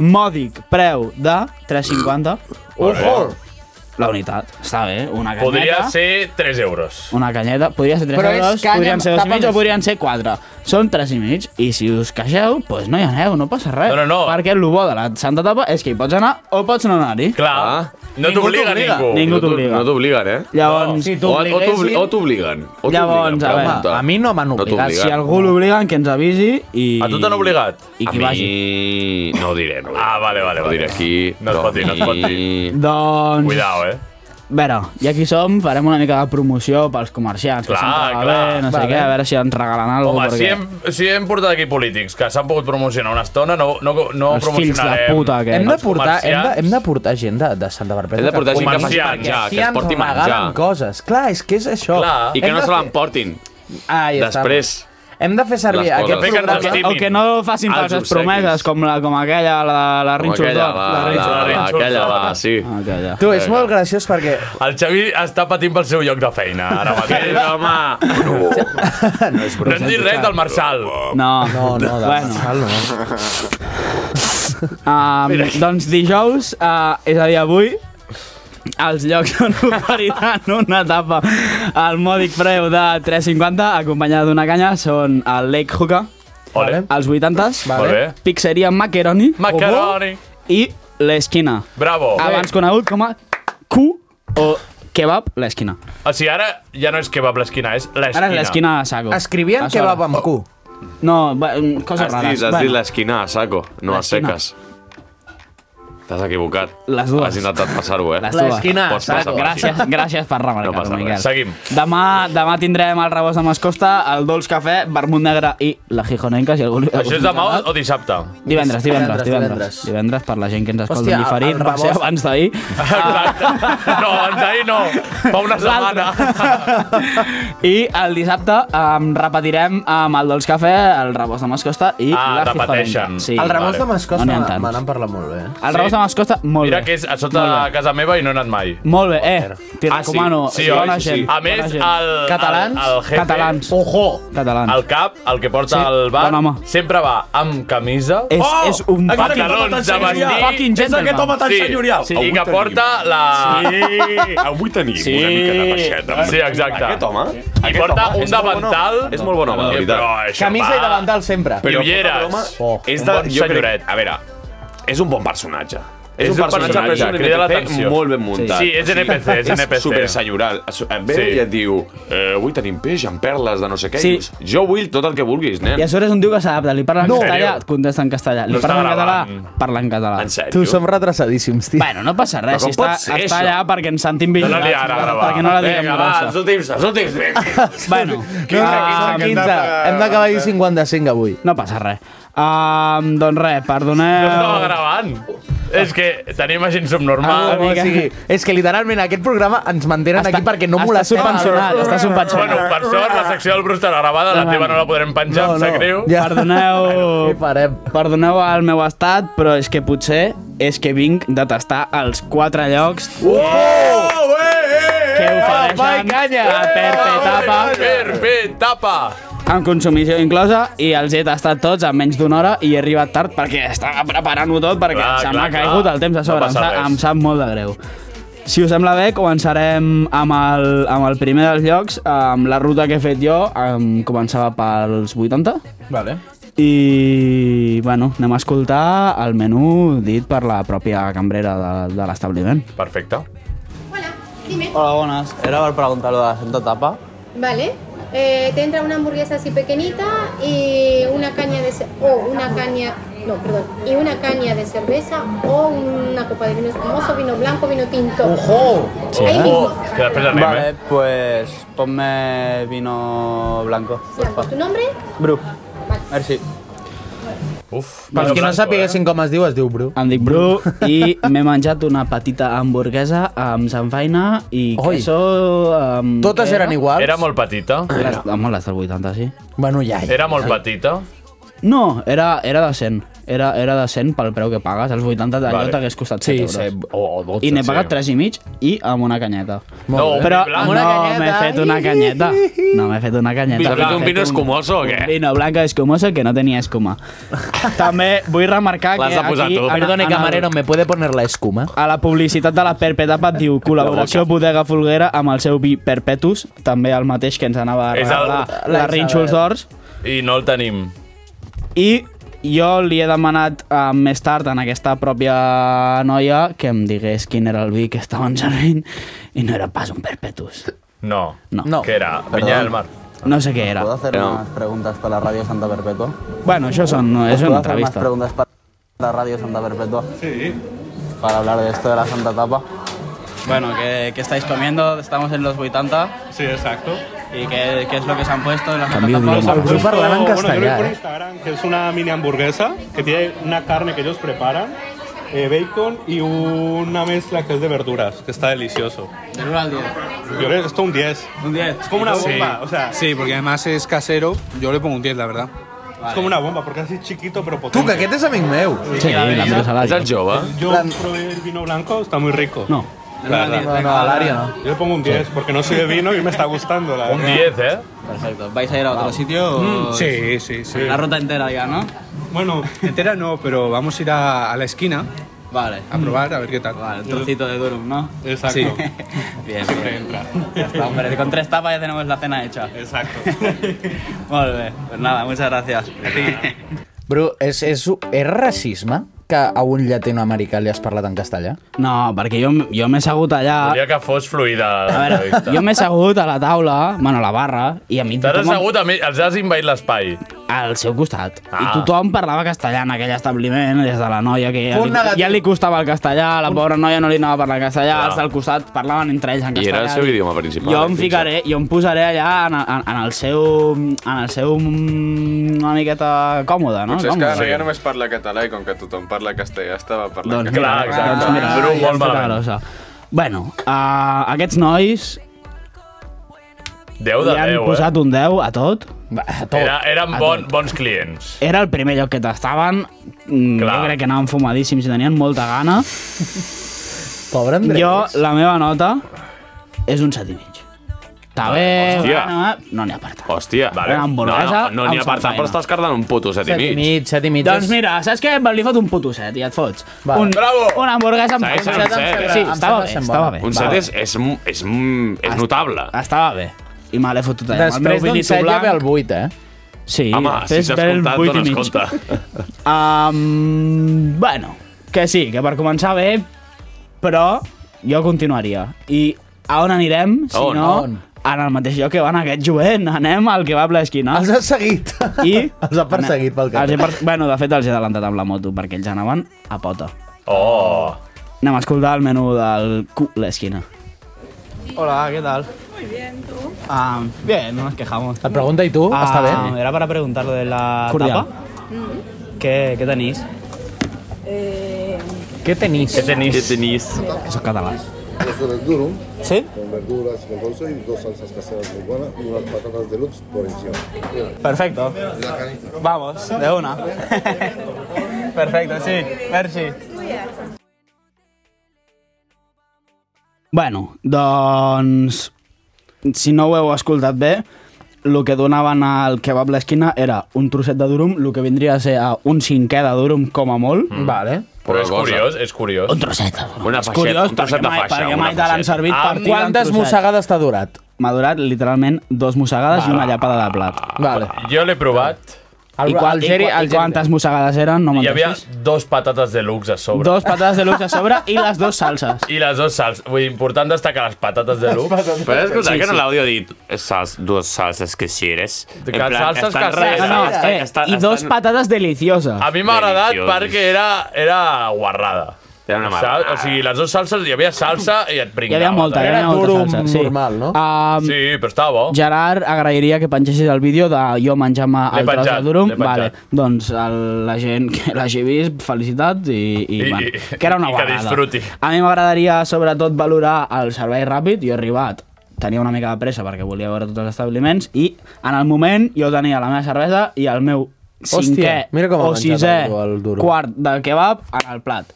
mòdic preu de 3,50.
Ojo!
La unitat. Està bé, una canyeta.
Podria ser 3 euros.
Una canyeta, podria ser 3
Però
Però
és
euros,
canya,
podrien ser 2 i
tapa
mig o
més.
podrien ser 4. Són 3 i mig, i si us queixeu, doncs pues no hi aneu, no passa res. No, no, no. Perquè el bo de la Santa Tapa és que hi pots anar o pots no anar-hi.
Clar, no
Ningú
t'obliga
t'obliga.
ningú.
Ningú
No t'o-
t'obliga.
No t'obliguen, eh?
Llavors, No. si
o, o
t'obliguessin-
t'obli- o t'obliguen. o t'obliguen,
Llavors, a veure,
pregunta. t'obliguen.
Si algú l'obliguen, que ens avisi i...
A tu t'han obligat?
I
a
qui
mi...
vagi.
No ho diré, no ho diré.
Ah, vale, vale.
No ho diré aquí.
No es
però
pot dir, no es
a
pot
mi-
Doncs...
Cuidao, eh?
A veure, ja aquí som, farem una mica de promoció pels comerciants, que
Clar,
sempre va
clar.
bé, no sé
Va
què,
bé.
a veure si ens regalen alguna
Home,
cosa.
si hem, si hem portat aquí polítics que s'han pogut promocionar una estona, no, no, no
Els fills de
promocionarem...
puta, aquests.
Hem de,
els
portar, hem, de,
comerciants.
hem de portar gent de, de Santa Barbeta.
Hem de portar gent que faci
Perquè
menjar,
així
que es
ens
porti
regalen
menjar.
coses. Clar, és que és això.
I que
Hem
no
de
se
fer-
l'emportin.
Ah, ja està.
Després.
Hem de fer servir
Les
aquest
coses. Que
programa.
ens estimin.
O que no facin
Els
falses
obsequis.
promeses, com, la, com aquella, la, la, la
Com
Rinxos
aquella,
d'Or.
la, la, la, aquella, la, sí.
Aquella.
Tu, és molt graciós perquè...
El Xavi està patint pel seu lloc de feina, ara mateix, home. No, no, és no ens dir res del Marçal.
No,
no, no, de Marçal
Bueno.
no.
Um, doncs dijous, uh, és a dir, avui, als llocs on oferiran una tapa al mòdic preu de 3,50 acompanyada d'una canya són el Lake Hookah,
Ole.
els 80s,
Vale. Molt bé.
Pizzeria Macaroni,
Macaroni.
i l'Esquina,
Bravo.
abans conegut com a Q o Kebab l'Esquina.
O sigui, ara ja no és que va per l'esquina, és l'esquina.
Ara és l'esquina de Sago.
Escrivien
A sobre.
kebab amb Q.
No, va, mm, coses
Has
rares.
dit, has dit
Bueno,
l'esquina a saco, no a
L'esquina.
seques. T'has equivocat.
Les dues.
Has intentat passar-ho, eh?
les dues.
Pots passar-ho així.
Ah, Gràcies, gràcies per remarcar-ho,
No passa res.
Miquel.
Seguim.
Demà, demà tindrem el rebost de Mascosta, el dolç cafè, vermut negre i la gijonenca, si algú li
Això és demà o dissabte?
Divendres, divendres, divendres. Divendres per la gent que ens escolta Hòstia, en diferit, va ser abans d'ahir.
No, abans d'ahir no. Fa una setmana.
I el dissabte em repetirem amb el dolç cafè, el rebost de Mascosta i
Ah,
la gijonenca.
repeteixen.
Sí,
El rebost de
No
Mascosta
n'hi ha
no
tants.
me n'han parlat molt eh? bé.
El rebost de Mascosta, molt
Mira
bé.
que és a sota de casa meva i no he anat mai.
Molt bé, eh, t'hi
Ah, sí?
recomano.
Sí, oi?
bona
Sí,
gent,
sí. A més,
bona gent.
el- Catalans? el- el jefe- Oh.
Catalans.
Ojo!
Catalans.
El cap, el que porta
Sí,
sí, el bar,
bon home.
sempre va amb camisa. Oh!
És- Oh, és un
Exacte,
fucking
pantalons
home tan
de
senyorial.
vestir.
Fucking És gentleman. aquest home tan senyorial.
Sí,
Avui
I que
tenim.
porta la...
Sí. Avui tenim
Sí.
una mica de baixeta.
Sí, exacte.
Aquest home...
I
aquest
porta
home
un
és molt bon
davantal...
home. És molt bon home, de
Eh,
veritat.
Però això
Camisa
va.
i davantal sempre.
Però
I ulleres.
fora broma,
Oh,
és
un
de,
bon
jo crec,
senyoret.
a veure, és un bon personatge.
És un personatge,
però és un
crida
NPC
l'atenció.
molt ben muntat.
Sí, sí, és NPC, és NPC.
És super senyoral. Et ve
Sí.
i et diu, eh, avui tenim peix amb perles de no sé què.
Sí.
Sí. Dius, jo vull tot el que vulguis, nen.
I a sobre és un tio que s'adapta, li parla en
No.
castellà,
En
et contesta en castellà. Li
No
parla en
està
català,
gravant.
parla en català. En
sèrio?
Tu, som retrasadíssims, tio.
Bueno, no passa res,
Però
si
com
està,
pot ser,
està
això?
allà perquè ens sentim
No la
vigilats.
liarà, gravar.
perquè no la diguem
Vinga, va, els
últims, els últims.
bueno, eh,
Ah, 15, hem d'acabar dir 55 avui.
No passa res. Um, doncs res, perdoneu...
No estava gravant. És que tenim gent subnormal.
Ah, o sigui, és que literalment aquest programa ens mantenen aquí perquè no
està
molestem.
subvencionat, està subvencionat.
Bueno, per sort, la secció del Bruce estarà gravada, la
No,
teva
no.
no la podrem penjar,
No,
em sap
no.
greu.
Ja. Perdoneu, Eh, perdoneu el meu estat, però és que potser és que vinc de tastar els quatre llocs
Oh, eh, eh,
que
eh,
ofereixen la Perpe Tapa
Perpe Tapa.
amb consumició inclosa i els he tastat tots en menys d'una hora i he arribat tard perquè estava preparant-ho tot perquè
Clar,
se m'ha
clar, clar.
caigut el temps a
No
sobre, em,
passa
sa,
res.
em sap molt de greu. Si us sembla bé, començarem amb el, amb el primer dels llocs, amb la ruta que he fet jo, em començava pels 80.
Vale.
I, bueno, anem a escoltar el menú dit per la pròpia cambrera de, de l'establiment.
Perfecte.
Hola, buenas.
Era per preguntar-ho de la Santa Tapa.
Vale. Eh, te entra una hamburguesa así pequeñita y una caña de ce- o una caña no, perdón, y una caña de cerveza o una copa de vino espumoso, vino blanco, vino tinto.
Sí.
Ahí mismo.
Oh,
Oh.
que després eh? anem,
Vale, pues ponme vino blanco, porfa.
¿Tu nombre?
Bru. Merci.
Uf.
Pels que no sapiguessin com es diu, es diu Bru.
Em dic Bru i m'he menjat una petita hamburguesa amb samfaina i
Oi.
queso... Amb...
Totes
Eh,
què
eren iguals?
Era molt petita.
Era, home, les del 80, sí.
Bueno, ja,
Eh,
Era molt petita.
No, era, era decent. Era, era decent pel preu que pagues. Els 80 d'allò
Vale.
vale. t'hagués costat
Sí,
7 euros.
set o- o dotze,
I n'he
sí.
pagat 3 i mig i amb una canyeta.
Molt No, bé.
Però
un vi blanc.
no
Una
m'he
canyeta.
fet una canyeta. No m'he fet una canyeta.
Vi
M'he
blanc. Un vino
fet
escumoso o
Un
què?
vino blanco escumoso que no tenia escuma. També vull remarcar que
L'has de posar
aquí...
tu.
en-
Perdone,
en el-
camarero, ¿me puede poner la escuma?
a la publicitat de la Perpetapa et diu col·laboració Bodega Folguera amb el seu vi Perpetus, també el mateix que ens anava a
És el-
regalar la
l'Isabel.
Rínxols d'Ors.
I no el tenim.
I jo li he demanat eh, més tard en aquesta pròpia noia que em digués quin era el vi que estaven servint i no era pas un Perpetus.
No.
No. no.
Què era? Vinya del Mar.
No sé què era.
¿Puedo hacer más preguntas para la radio Santa Perpetua?
Bueno, això són, no,
¿Os
és
puedo
una
hacer más
entrevista.
preguntas para la radio Santa Perpetua? Sí. Para hablar de esto de la Santa Tapa.
Bueno, ¿qué, estáis comiendo? Estamos en los 80.
Sí, exacto. ¿Y qué, es lo que se han puesto en la
Cambio de idioma.
Pues
Grupo
esto,
Arlan
Bueno, yo lo vi
Castellà,
por
eh.
Instagram, que es una mini hamburguesa que tiene una carne que ellos preparan, eh, bacon y una mezcla que es de verduras, que está delicioso.
Del 1 al 10.
Yo le esto un 10.
Un 10.
Es como una bomba, o sea,
Sí, porque además es casero. Yo le pongo un 10, la verdad.
es como una bomba porque es así chiquito pero potente.
Tu, que aquest és amic meu.
Sí, l'Andrés
És el jove.
Yo probé el vino blanco, está muy rico.
No.
La verdad.
No, no, al área no.
Yo le pongo un 10 porque no soy de vino y me está gustando, la verdad.
¿eh?
Perfecto. ¿Vais a ir a otro sitio? o-
Mm, Sí, sí, sí.
La ruta entera ya, ¿no?
Bueno, entera no, pero vamos a ir a, a la esquina.
Vale.
A probar, a ver qué tal.
Vale, un trocito de Durum, ¿no?
Exacto.
Sí. bien, bien. Ya está, hombre, con tres tapas ya tenemos la cena hecha.
Exacto.
Molt bé, pues nada, muchas gracias.
Bru, és, és, és racisme que a un llatinoamericà li has parlat en castellà?
No, perquè jo, jo m'he segut allà...
Volia que fos fluida.
Ah. A veure, jo m'he segut a la taula, bueno, a la barra, i a mi
T'has
tothom... em-
assegut, a mi, els has invadit l'espai.
Al seu costat. I tothom parlava castellà en aquell establiment, des de la noia que ja
Punt
li,
negatiu.
ja li costava el castellà, la pobra noia no li anava a parlar castellà,
Clar.
els del costat parlaven entre ells en
I
castellà.
era el seu
dic,
idioma principal,
Jo
eh,
em
fixa.
ficaré, jo em posaré allà en, en, en el seu... en el seu... mm, una miqueta còmode, no?
Potser és que
Còmode.
ara ja només parla català i com que tothom parla castellà estava parlant
Doncs
català.
mira, doncs mira,
Bru,
ja
molt
ens toca la
malament.
grossa. Bueno, uh, aquests nois
10 de
li han
10,
posat un 10 a tot.
eh? Era, eren bon, bons clients.
Era el primer lloc que tastaven. Mm, Jo crec que anaven fumadíssims i tenien molta gana.
Pobre Andrés.
Jo, la meva nota és un 7 i mig. Està bé,
Hòstia.
bueno, eh? no n'hi ha per tant.
Hòstia.
Vale. Una hamburguesa
no, no, no
amb
n'hi ha per tant,
samfaina.
però estàs cardant un puto set i mig.
set i mig.
Doncs mira, saps què? Li fot un puto set i et fots.
Vale.
Un,
Bravo.
Una hamburguesa amb
Segueix sent un set.
Sí, estava bé, estava bé.
Un set és, és, és, és notable.
Estava bé. I me l'he fotut allà. amb el meu
Després d'un
vinito
set ja
blanc.
ve el 8, eh?
Sí,
Home, si
després
s'ha
ve el
escoltat,
vuit i
dones
mig.
compte.
Um, bueno, que sí, que per començar bé, però jo continuaria. I a on anirem, si
On?
no,
On?
en el mateix lloc que van aquest jovent. Anem al que va a l'esquina. Els
has seguit.
I...
Els ha perseguit pel
Els
carrer.
he per... Bueno, de fet, els he adelantat amb la moto, perquè ells anaven a pota.
Oh!
Anem a escoltar el menú del cu l'esquina.
Hola, ¿qué tal?
Muy bien, ¿tú?
Ah, bien, no nos quejamos.
La pregunta, ¿y tú?
Ah,
¿Está bien?
Era para preguntar lo de la
Cordial.
tapa.
Mm.
¿Qué, ¿Qué tenéis?
Eh,
Què tenís?
Què tenís? Què
tenís?
Això és català.
Esto del durum.
¿Sí?
Con verduras, con bolso y dos salsas caseras muy buenas y unas patatas deluxe por encima.
Perfecto. Vamos, de una. Perfecto, sí. Merci.
Bueno, doncs... Si no ho heu escoltat bé, el que donaven al kebab l'esquina era un trosset de durum, el que vindria a ser a un cinquè de durum com a molt. Mm. Vale.
Però és curiós, és curiós. Un
trosset.
Una
És
faixeta,
curiós
un trosset
perquè
de
mai-
faixa.
perquè
una
mai te l'han
faixeta.
servit per
Amb
tirar
Quantes
un trosset.
mossegades t'ha durat?
M'ha durat literalment dos mossegades i una llapada de plat.
Vale.
Jo l'he provat
I, quan, i, i quantes mossegades eren? No
Hi havia
m'entessis.
dos patates de luxe a sobre.
Dos patates de luxe a sobre i les dues salses.
I les dos sals. Vull dir, important destacar les patates de luxe.
Però escolta, sí, que en l'àudio ha dit sals, dues salses que si eres.
Que salses que
res.
res.
No, eh, I dos patates delicioses.
A mi m'ha agradat
Deliciós.
perquè era, era guarrada. Era una
guarrada.
O sigui, les dues salses, hi havia salsa i et
Hi
pringava.
havia molta, hi havia molta salsa. Sí.
no?
Um,
sí, però estava bo.
Gerard, agrairia que pengessis el vídeo de jo menjant-me
L'he
el tros de
penjat,
durum.
l'he penjat.
Vale. Doncs el, la gent que l'hagi vist, felicitats i, i,
I-
bueno,
i-
que era una
i que
guarrada.
disfruti.
A mi m'agradaria sobretot valorar el servei ràpid. Jo he arribat, tenia una mica de pressa perquè volia veure tots els establiments i en el moment jo tenia la meva cervesa i el meu
Hòstia,
cinquè
mira com ha
o
menjat
sisè
algú el durum.
quart del kebab en el plat.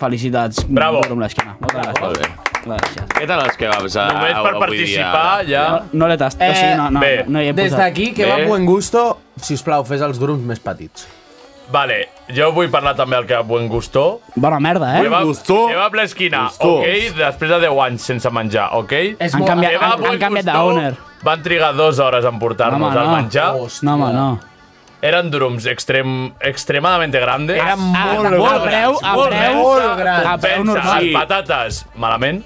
Felicitats.
Bravo.
Durum l'esquina. Moltes gràcies.
Molt bé.
Gràcies.
Què tal els kebabs
ah,
a,
Només per
avui dia?
participar, ja...
No l'he tastat. Eh, o sigui, no, no,
bé.
no hi he
Des
posat.
d'aquí, que
Bé.
va amb buen gusto, si us plau, fes els durums més petits.
Vale, jo vull parlar també al que Buen Gustó.
Bona merda, eh?
Kebab, Gusto. Kebab l'esquina,
Gustó.
ok? Després de 10 anys sense menjar, ok?
És Han molt- canviat-
Kebab,
han- han
Buen
canviat
Gustó,
d'owner.
Van trigar dues hores en portar-nos al menjar.
No, home, no.
Eren durums extrem, extremadament grandes.
Ah,
Eren molt grans. A preu- a
molt
preu-
grans.
molt grans. A preu
Pensa,
normal.
les patates, malament?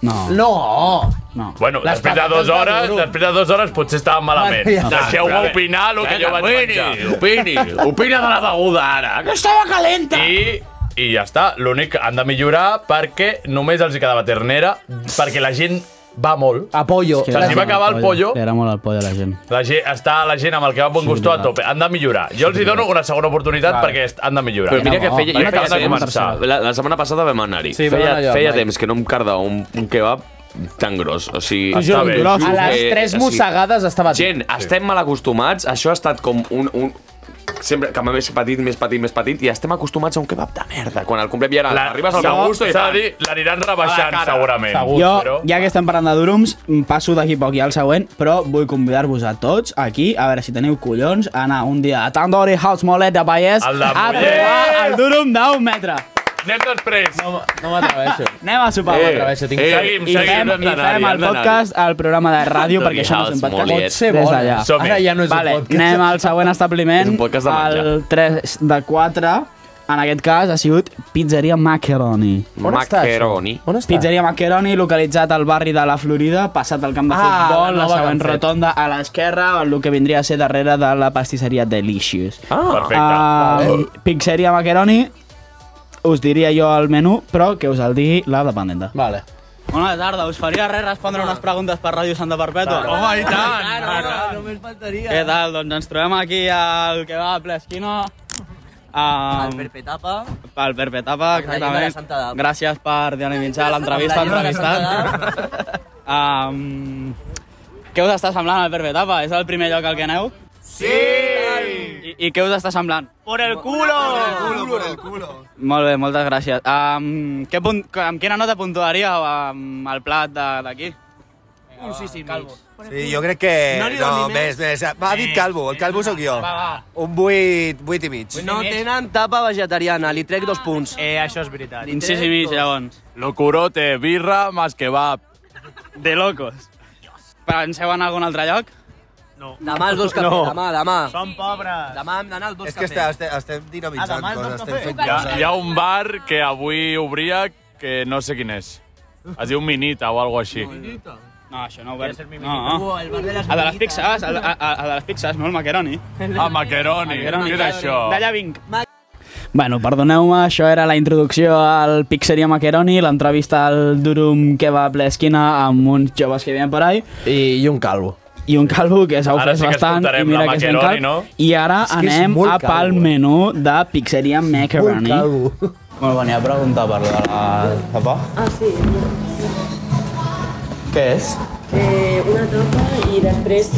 No.
No!
No.
Bueno,
Les
després de
patates
dues
de
hores,
durum.
després de dues hores potser estava malament.
Bueno, ja.
Deixeu-me
Però bé,
opinar el que
vinga,
jo vaig
opini,
menjar.
opini, opina de la beguda, ara. Que
estava calenta! I, i ja està. L'únic que han de millorar perquè només els hi quedava ternera, perquè la gent va molt.
A pollo.
Se'ls hi va acabar el pollo.
Era molt el pollo, la gent.
La gent, està la gent amb el que va bon gustó a tope. Han de millorar. Jo els hi dono una segona oportunitat
Vale.
perquè est- han de millorar.
Però mira que feia, jo
Perquè
feia
acaben de
temps,
començar.
la, la setmana passada vam anar-hi.
Sí, vam
feia,
anar allò,
feia
Mike.
temps que no em cardava un, un kebab tan gros. O sigui, Eh,
T'ho juro, gros. A les tres mossegades estava dit.
Gent, estem mal acostumats. Això ha estat com un... un sempre que m'ha més petit, més petit, més petit, i estem acostumats a un kebab de merda. Quan el comprem ja era...
La-
arribes al
s'ha-
meu gusto i...
s'ha de dir, l'aniran rebaixant, segurament.
jo, ja que estem parlant de Durums, passo d'aquí poc i al següent, però vull convidar-vos a tots aquí, a veure si teniu collons, a anar un dia a Tandoori House Molet de Vallès
El de
a
Mollet.
provar el Durum d'un metre.
Anem després. No,
no m'atreveixo.
Anem a sopar.
Eh,
un altre.
eh, seguim,
I
seguim, hem
fem, i
d'anar-hi, hem
fem el
d'anar-hi.
podcast al programa de ràdio, perquè això no és un
House
podcast.
Mollet. Pot ser
Des
bona.
d'allà.
Som-hi. Ara ja no és un
vale,
podcast.
Anem al següent establiment.
És un podcast de menjar.
El 3 de 4, en aquest cas, ha sigut Pizzeria Macaroni.
On està, Macaroni. això? On està?
Pizzeria Macaroni, localitzat al barri de la Florida, passat el camp de
Ah,
futbol,
la
la,
nova que han
següent
fet.
rotonda a l'esquerra, el que vindria a ser darrere de la pastisseria Delicious.
Ah. Perfecte.
Uh, Pizzeria Macaroni, us diria jo el menú, però que us el digui la dependenta.
Vale.
Bona tarda, us faria res respondre unes preguntes per Ràdio Santa Perpètua?
Oh,
Home, i tant!
Només faltaria. Què tal? Doncs ens trobem aquí al que va a Plesquino. Um,
Ah,
Al Perpetapa.
Al Perpetapa,
Amb la llum de la
exactament.
Santa Edat.
Gràcies per dinamitzar l'entrevista,
Amb la llum de la
entrevistat. Um, què us està semblant al Perpetapa? És el primer lloc al que aneu? Sí! I, I què us està semblant?
Por el culo. Por el culo, por el culo.
Molt bé, moltes gràcies. Um, què punt, amb quina nota puntuaríeu um, el plat de- d'aquí?
Un sí, sí,
Sí, jo crec que...
No li doni més. Eh,
Eh, més, més. Va, ha dit Calvo, el Calvo sóc jo.
Va, va.
Un 8, 8 i mig.
No tenen tapa vegetariana, li trec dos punts. Eh, això és veritat.
Un sis i mig, llavors.
Locurote, birra, más kebab.
De locos. Penseu en algun altre lloc? No.
Demà els dos cafè, no. demà, demà.
Som pobres.
Demà hem d'anar al dos
És que
cafè.
està, estem, estem
Ah,
dinamitzant
demà el dos
coses, estem
cafè.
fent
Hi ha,
coses.
hi ha un bar que avui obria que no sé quin és. Es diu Minita o alguna així.
No, això no ho veig.
mimica.
No.
Uah, Uh, el bar de les
el de les
mimiques.
pizzas, el, el, el de les pizzas, no el macaroni.
Ah, macaroni. Què és això?
D'allà vinc. Bueno, perdoneu-me, això era la introducció al Pizzeria Macaroni, l'entrevista al Durum que va a ple esquina amb uns joves que vivien per ahí.
I, i un calvo.
I un calvo que s'ha
Ara
ofès
sí que
bastant.
escoltarem
I mira
la
que és ben
Macaroni,
calb.
no?
I ara
És que és
anem
molt
a pel
calvo, eh?
menú de Pizzeria Macaroni.
calvo.
Bueno, venia a preguntar per la tapa.
Ah, sí.
Què és?
Eh, una tapa i després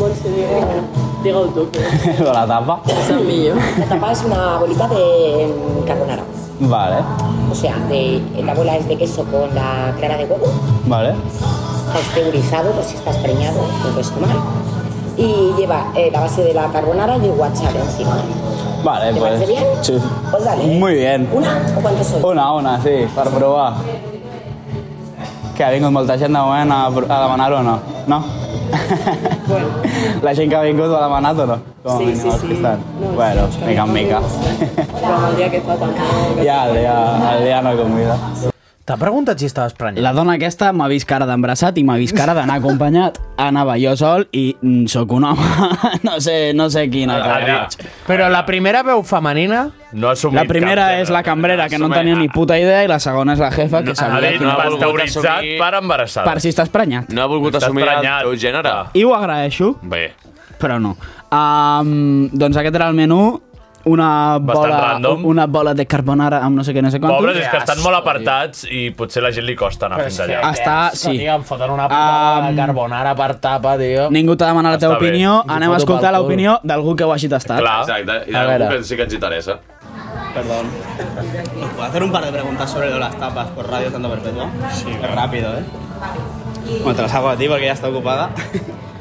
Montse diga, diga el toque.
la tapa?
És el millor.
La tapa es una bolita de mm, carbonara.
Vale,
O sea, de, la bola es de queso con la clara de huevo,
vale.
pasteurizado por si estás preñado, lo puedes tomar. Y lleva eh, la base de la carbonara y el guachale encima.
Vale,
¿Te
pues.
parece bien?
Sí.
Pues dale.
Muy bien.
¿Una o cuántos son?
Una, una, sí, per provar. Que ha vingut molta gent de moment a, a demanar-ho o no? No?
Bueno.
La gent que ha vingut ho ha demanat o no? Com a
Sí,
mínim,
sí,
els
sí.
que estan. bueno, mica en mica.
Però el dia que fa tan calor.
Ja, el dia, el dia no convida.
T'ha preguntat si estaves prenyat? La dona aquesta m'ha vist cara d'embrassat i m'ha vist cara d'anar acompanyat. Anava jo sol i mm, sóc un home. no sé, no sé quina cara.
Però la primera veu femenina...
No ha eh?
La primera és la cambrera, que no en tenia ni puta idea, i la segona és la jefa, que sabia...
David,
quin
no ha
pas
volgut
teoritzar.
Autoritzat per embarassada.
Per si estàs prenyat.
No ha volgut
Estàs
assumir
prenyat.
el teu gènere.
I ho agraeixo.
Bé.
Però no. Um, doncs aquest era el menú. Una
Bastant
bola,
random.
una bola de carbonara amb no sé què, no sé quantos.
Pobres, és que estan molt apartats i potser la gent li costa anar fins allà.
Està, sí.
Tio, em foten una putada de carbonara per tapa, tio.
Ningú t'ha demanat la teva
Està bé.
opinió,
Jo
anem a
foto
escoltar
pel cul.
l'opinió d'algú que ho hagi tastat.
Exacte, i
A
d'algú
veure.
que sí que ens interessa.
Perdón. ¿Os puedo hacer un par de preguntas sobre lo de las tapas por Radio Santa Perpetua? Sí. Es rápido, ¿eh? Bueno, te las hago a ti porque ya está ocupada.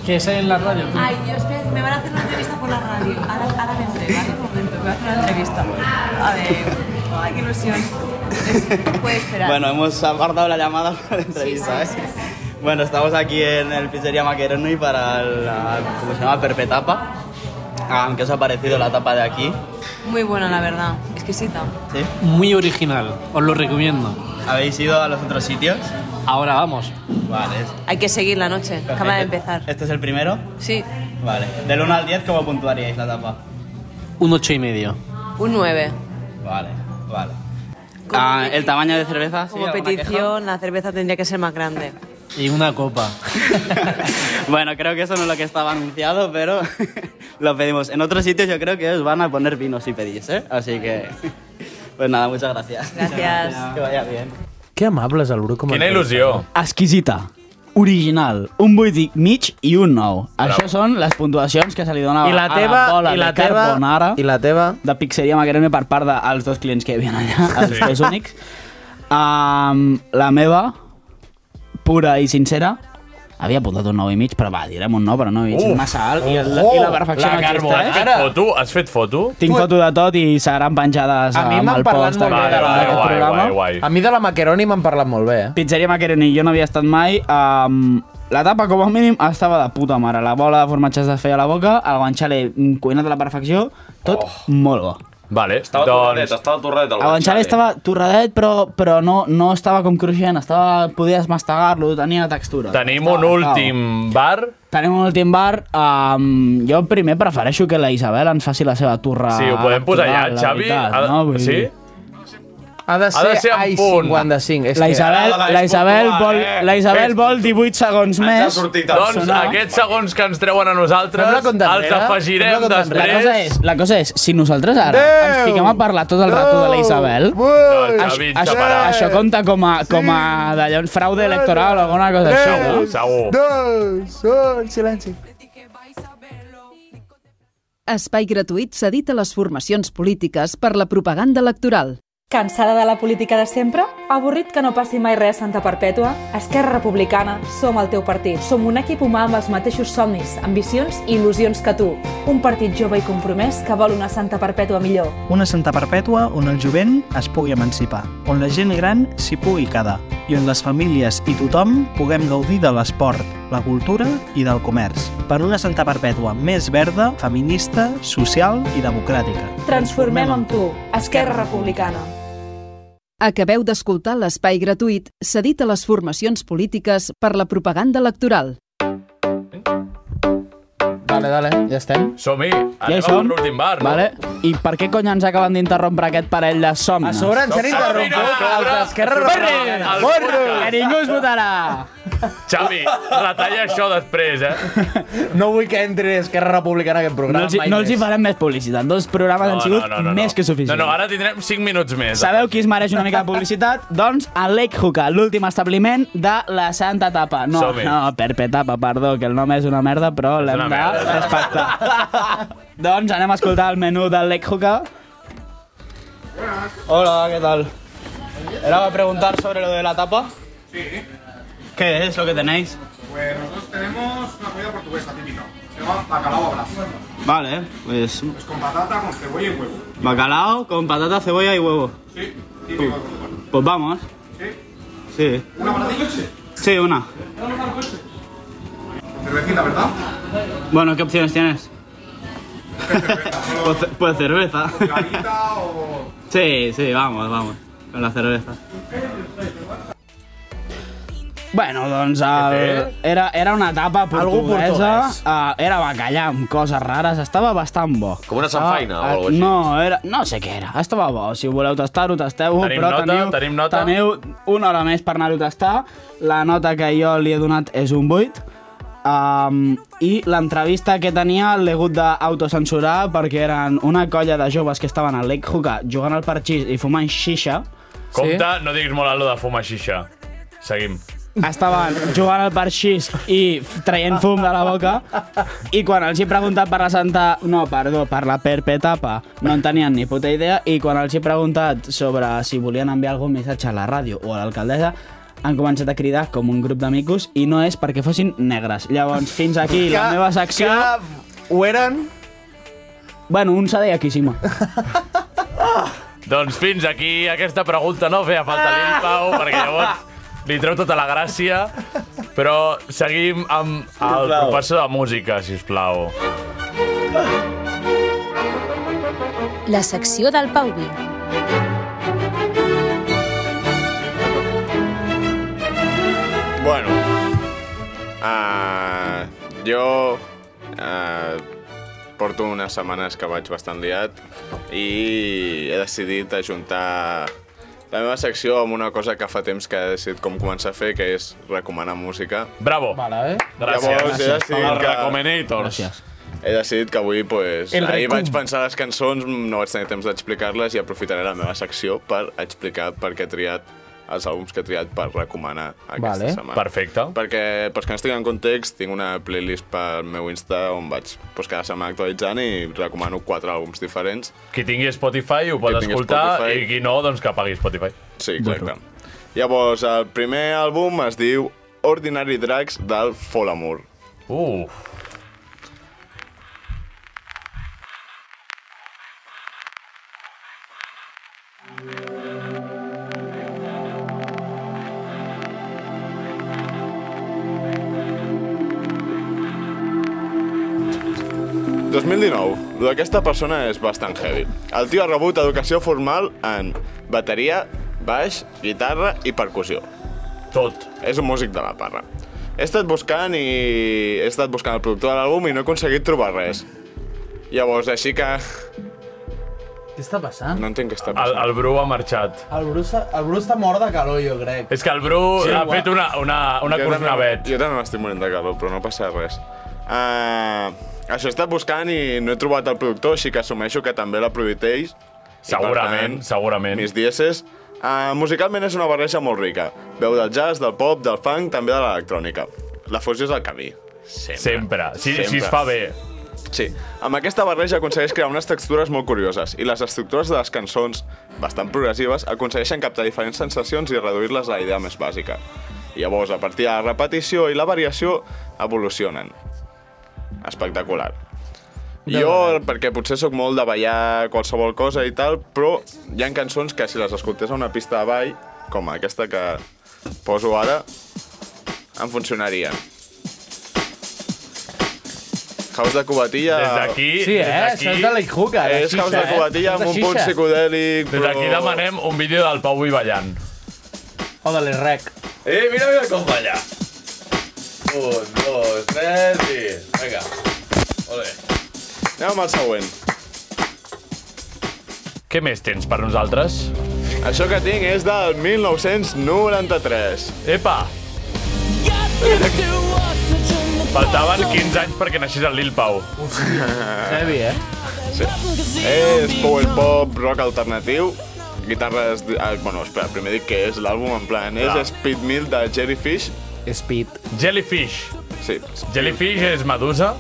¿Qué es en la radio?
Ay, Dios, espérate, me van a hacer una entrevista por la radio. Ahora, ahora vendré, ¿vale? Un momento, me van a hacer una entrevista. A ver, ay, qué ilusión. Es- Puede esperar.
Bueno, hemos apartado la llamada para la entrevista, ¿eh? Bueno, estamos aquí en el Pizzería Maqueroni para la, ¿cómo se llama? Perpetapa. Ah, ¿Qué os ha parecido la tapa de aquí?
Muy buena, la verdad. Exquisita.
¿Sí?
Muy original, os lo recomiendo.
¿Habéis ido a los otros sitios?
Ahora vamos.
Vale.
Hay que seguir la noche, que acaba de empezar.
¿Este es el primero?
Sí,
Vale. Del 1 al 10, ¿cómo puntuaríais la tapa?
Un ocho y medio.
un 9.
Vale, vale. Ah, ¿El tamaño de cerveza? sí,
Como
alguna queja?
petición, la cerveza tendría que ser más grande.
Y una copa.
Bueno, creo que eso no es lo que estaba anunciado, pero lo pedimos. En otros sitios yo creo que os van a poner vino si pedís, ¿eh? Así que, pues nada, muchas gracias.
Gracias.
Que vaya bien.
Que amables, el Bru.
Quina il·lusió.
Exquisita, original, un 8 i mig i un 9.
Bravo.
Això són les puntuacions que se li donava
I la
a
teva-
la bola
i la
de
teva-
carbonara
i la teva?
de Pizzeria Macarena per part dels dos clients que hi havia allà, els
Sí.
tres únics. Um, la meva, pura i sincera, havia apuntat un 9 i mig, però va, direm un 9, però no i mig,
Uf.
és massa alt. I, la,
Oh,
i la perfecció
la
no
carbonara. Has
existe,
fet foto? Has fet foto?
Tinc foto de tot i seran penjades
A mi
amb
m'han
el
parlat
post
molt bé de la-
d'aquest
guai,
programa.
guai, guai. A mi de la Macaroni m'han parlat molt bé, eh?
Pizzeria Macaroni, jo no havia estat mai. Um, la tapa, com a mínim, estava de puta mare. La bola de formatges es feia a la boca, el guanciale mm, cuinat a la perfecció, tot oh. molt bo.
Vale,
Estava
doncs-
torradet, estava torradet el
El guanciale
guanciale.
estava torradet, però, però no, no estava com cruixent, estava, podies mastegar-lo, tenia textura.
Tenim
Estava-
un últim bar.
Tenim un últim bar. Um, jo primer prefereixo que la Isabel ens faci la seva turra.
Sí, ho podem posar allà,
electoral, la
Xavi.
veritat,
Ha de-
no? Vull
sí?
dir-
Ha de
Ha de
ser,
ser en
ai,
punt.
55. És
La
que-
Isabel, la Isabel, vol, la Isabel vol 18 segons més.
Doncs aquests segons que ens treuen a nosaltres
Fem la
els
compta enrere, fem
afegirem
la compta enrere. La cosa és,
després.
la cosa és si nosaltres ara ens fiquem a parlar tot el rato de la Isabel,
No,
això,
Xavi,
això,
xaparà.
això compta com a, com a d'allò, un fraude electoral o alguna cosa així.
Eh.
Segur, segur.
Dos, un, silenci. eh?
Espai gratuït cedit a les formacions polítiques per la propaganda electoral.
Cansada de la política de sempre? Avorrit que no passi mai res a Santa Perpètua? Esquerra Republicana, som el teu partit. Som un equip humà amb els mateixos somnis, ambicions i il·lusions que tu. Un partit jove i compromès que vol una Santa Perpètua millor.
Una Santa Perpètua on el jovent es pugui emancipar, on la gent gran s'hi pugui quedar i on les famílies i tothom puguem gaudir de l'esport, la cultura i del comerç. Per una Santa Perpètua més verda, feminista, social i democràtica.
Transformem amb tu. Esquerra Republicana.
Acabeu d'escoltar l'espai gratuït cedit a les formacions polítiques per la propaganda electoral.
Dale, dale, ja estem.
Som-hi,
Ja hi
anem
som.
a l'últim bar. no?
Vale? I per què cony ens acaben d'interrompre aquest parell de somnis?
A sobre ens han interromput els d'Esquerra Republicana.
Borre!
Borre!
Que ningú es votarà!
Xavi, retalla això després, eh?
No vull que entri Esquerra Republicana a aquest
No
programa.
els, hi- no els hi farem més publicitat. Dos programes han sigut més que
No,
suficients.
no, ara tindrem 5 minuts més.
Sabeu qui es mereix una mica de publicitat? Doncs a Lake Hookah, l'últim establiment de la Santa Tapa. No,
Som-hi.
no, Perpe Tapa, perdó, que el nom és una merda, però l'hem
una
de
merda.
respectar. doncs anem a escoltar el menú del Lake Hookah.
Hola, ¿qué tal? Era para preguntar sobre lo de la tapa.
Sí.
¿Qué es lo que tenéis?
Pues nosotros tenemos una comida portuguesa típica. Se llama bacalao a brasa.
Vale, pues
Es con patata, con cebolla y huevo.
bacalao con patata, cebolla y huevo.
Sí, típico de Portugal.
Pues vamos.
Sí.
Sí.
¿Una para ti, coche?
Sí, una.
¿Una para el coche? Cervecita, ¿verdad?
Bueno, ¿qué opciones tienes? pues, pues cerveza. sí, sí, vamos, vamos. Con la cerveza.
Bueno, doncs el, era, era una etapa
Algú
portuguesa, uh, era bacallà amb coses rares, estava bastant bo.
Com una samfaina o
Estava-
alguna cosa així.
No, era, no sé què era, estava bo. Si voleu tastar-ho, tasteu-ho,
Tenim
però
nota,
teniu,
tenim nota.
teniu una hora més per anar-ho a tastar. La nota que jo li he donat és un 8. Um, I l'entrevista que tenia l'he hagut d'autocensurar perquè eren una colla de joves que estaven a Lake Hookah jugant al parxís i fumant xixa.
Compte, no diguis molt alto de fumar xixa. Seguim.
estaven jugant al parxís i f- traient fum de la boca i quan els he preguntat per la santa... No, perdó, per la perpetapa no en tenien ni puta idea i quan els he preguntat sobre si volien enviar algun missatge a la ràdio o a l'alcaldessa han començat a cridar com un grup d'amicus i no és perquè fossin negres. Llavors, fins aquí la
Que-
meva secció. Que ho eren? Bueno, un se deia Kishima.
Doncs fins aquí aquesta pregunta no feia falta a
Ah!
l'Il Pau, perquè llavors li treu tota la gràcia. Però seguim amb el
Sisplau.
professor de música, si us plau.
La secció del Pau Vi.
Bueno. ah, jo ah, porto unes setmanes que vaig bastant liat i he decidit ajuntar la meva secció amb una cosa que fa temps que he decidit com començar a fer, que és recomanar música.
Bravo.
Vale, eh?
Llavors he decidit que...
Gràcies.
He decidit que avui, pues,
El
ahir
recum.
vaig pensar les cançons, no vaig tenir temps d'explicar-les i aprofitaré la meva secció per explicar per què he triat els àlbums que he triat per recomanar aquesta
Vale.
setmana. Perfecte. Perquè, pels que no estiguin en context, tinc una playlist pel meu Insta on vaig pues, cada setmana actualitzant i recomano quatre àlbums diferents.
Qui tingui Spotify ho pot
Qui tingui
escoltar
Spotify.
i qui no, doncs que pagui Spotify.
Sí, exacte. Llavors, el primer àlbum es diu Ordinary Drags del Folamour.
Uh.
...2019. Lo d'aquesta persona és bastant heavy. El tio ha rebut educació formal en bateria, baix, guitarra i percussió.
Tot.
És un músic de la parra. He estat buscant i he estat buscant el productor de l'àlbum i no he aconseguit trobar res. Llavors, així que
Què està passant?
no entenc què està
El,
passant.
el Bru ha marxat.
El Bru, s'ha- el Bru està mort de calor, jo crec.
És que el Bru
Sí,
ha
guau.
fet una, una, una
Jo també-
cornavet.
Jo també m'estic morint de calor, però no passa res. Uh, això he estat buscant i no he trobat el productor, així que assumeixo que també l'aprofité ells.
Segurament, segurament.
Mis dieces. Uh, musicalment és una barreja molt rica. Veu del jazz, del pop, del funk, també de l'electrònica. La fusió és el camí. Sempre.
Sempre. Si, si es fa bé.
Sí. Amb aquesta barreja aconsegueix crear unes textures molt curioses i les estructures de les cançons, bastant progressives, aconsegueixen captar diferents sensacions i reduir-les a la idea més bàsica. Llavors, a partir de la repetició i la variació, evolucionen. Espectacular. Jo, perquè potser sóc molt de ballar qualsevol cosa i tal, però hi ha cançons que si les escoltés a una pista de ball, com aquesta que poso ara, em funcionarien. House de Cubatilla...
Des d'aquí...
Sí, eh?
des d'aquí-
Això és de Lake Hookah, de
És House de
xixa, eh?
Cubatilla
És de
amb un punt
xixa.
psicodèlic,
Des d'aquí
però-
demanem un vídeo del Pau Vi ballant.
O de l'Irrec.
Eh, mira, mira com balla.
Un, dos, tres i... Vinga. Ole. Anem amb el següent.
Què més tens per nosaltres?
Això que tinc és del 1993.
Epa! Faltaven 15 anys perquè naixés el Lil Pau.
Heavy, eh? Sí. És power pop, rock alternatiu, guitarres... di- Ah, bueno, espera, primer dic que és l'àlbum, en plan, és
Clar.
Speed Mill de Jellyfish.
Speed.
Jellyfish.
Sí.
Jellyfish és medusa?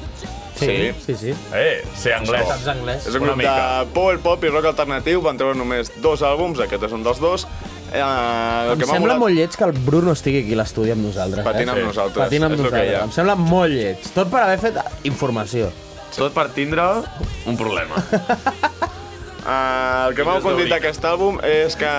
Sí.
Sí, sí.
Eh, sé anglès.
Saps
anglès?
És un grup de power pop i rock alternatiu, van treure només dos àlbums, aquest és un dels dos. Eh, el
Em
que m'ha
sembla
molat-
molt lleig que el Bruno estigui aquí a l'estudi amb nosaltres.
Patint
eh?
amb Sí. nosaltres,
Patint amb
és lo que hi
nosaltres.
ha.
Em sembla molt lleig. Tot per haver fet informació.
Tot per tindre un problema.
Ah, el que m'ha
Quin
condit
desdoblit.
d'aquest àlbum és que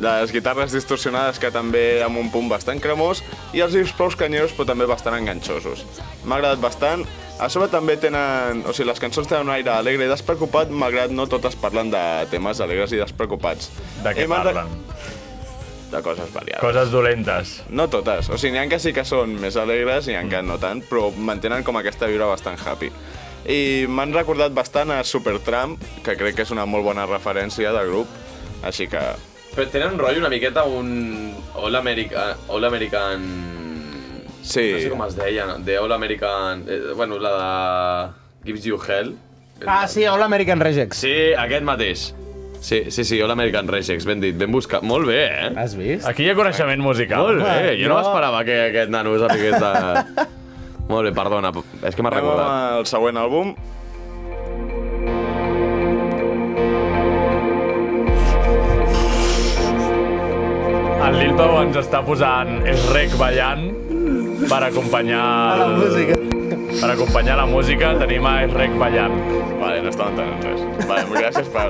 les guitarres distorsionades que també amb un punt bastant cremós i els riffs prou canyeros però també bastant enganxosos. M'ha agradat bastant. A sobre també tenen... O sigui, les cançons tenen un aire alegre i despreocupat, malgrat no totes parlen de temes alegres i despreocupats.
De què
I m'ha agra-
parlen?
De coses variades.
Coses dolentes.
No totes. O sigui, n'hi ha que sí que són més alegres i n'hi ha que no tant, però mantenen com aquesta vibra bastant happy. I m'han recordat bastant a Supertramp, que crec que és una molt bona referència de grup, així que...
Però tenen un rotllo una miqueta un... All American... All American...
Sí.
No sé com es deia, de All American... Eh, bueno, la de... Gives You Hell.
Ah, sí, All American Rejects.
Sí, aquest mateix. Sí, sí, sí, All American Rejects, ben dit, ben buscat. Molt bé, eh?
Has vist?
Aquí hi ha coneixement musical. Molt bé, jo no,
No.
m'esperava que aquest nano sapigués de... Molt bé, perdona, és que m'ha
Anem
recordat.
amb el següent àlbum.
El Lil Pau ens està posant es rec ballant per acompanyar... La música. Per acompanyar la música tenim a es rec ballant.
Vale, no estava entenent res. Vale, gràcies per...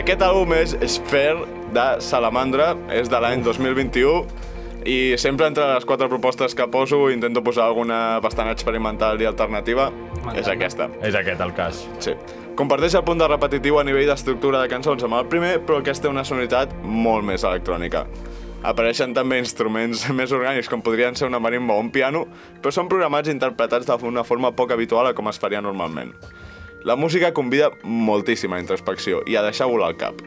Aquest àlbum és Sphere de Salamandra, és de l'any 2021 i sempre entre les quatre propostes que poso intento posar alguna bastant experimental i alternativa. És aquesta.
És aquest el cas.
Sí. Comparteix el punt de repetitiu a nivell d'estructura de cançons amb el primer, però aquesta té una sonoritat molt més electrònica. Apareixen també instruments més orgànics, com podrien ser una marimba o un piano, però són programats i interpretats d'una forma poc habitual a com es faria normalment. La música convida moltíssima introspecció i a deixar volar el cap.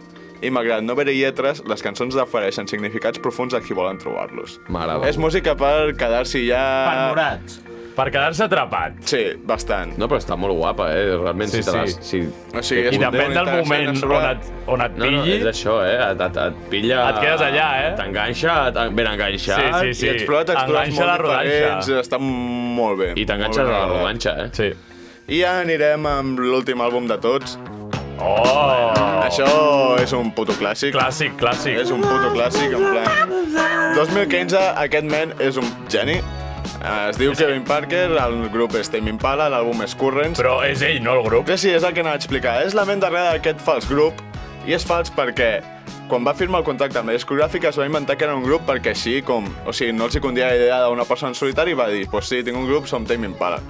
I malgrat no haver-hi lletres, les cançons ofereixen significats profuns a qui volen trobar-los.
M'agrada.
És música per quedar-s'hi ja...
Penurats.
Per quedar-se atrapat.
Sí, bastant.
No, però està molt guapa, eh? Realment,
Sí,
si te l'has...
sí.
Si...
O sigui, és
I
un
depèn
tema
del moment
interessant a sobre.
on et,
on et
pilli... No, no, és això, eh? Et, et, et pilla...
Et quedes allà, eh?
T'enganxa, et- ben enganxat...
Sí, sí, sí.
I explora textures
Enganxa la
molt diferents.
rodanxa.
Està molt bé.
I t'enganxes
Molt
a
bé,
la
molt bé.
rodanxa, eh?
Sí.
I ja anirem amb l'últim àlbum de tots.
Oh!
Això és un puto clàssic.
Clàssic, clàssic.
És un puto clàssic, en plan... 2015, aquest men és un geni. Eh, Es diu Kevin Parker, el grup és Tame Impala, l'àlbum és Currents...
Però és ell, no el grup.
Sí, sí, és el que anava a explicar. És la ment darrere d'aquest fals grup, i és fals perquè quan va firmar el contracte amb la discogràfica es va inventar que era un grup perquè així com... O sigui, no els hi condia la idea d'una persona en solitari i va dir, pues sí, tinc un grup, som Tame Impala.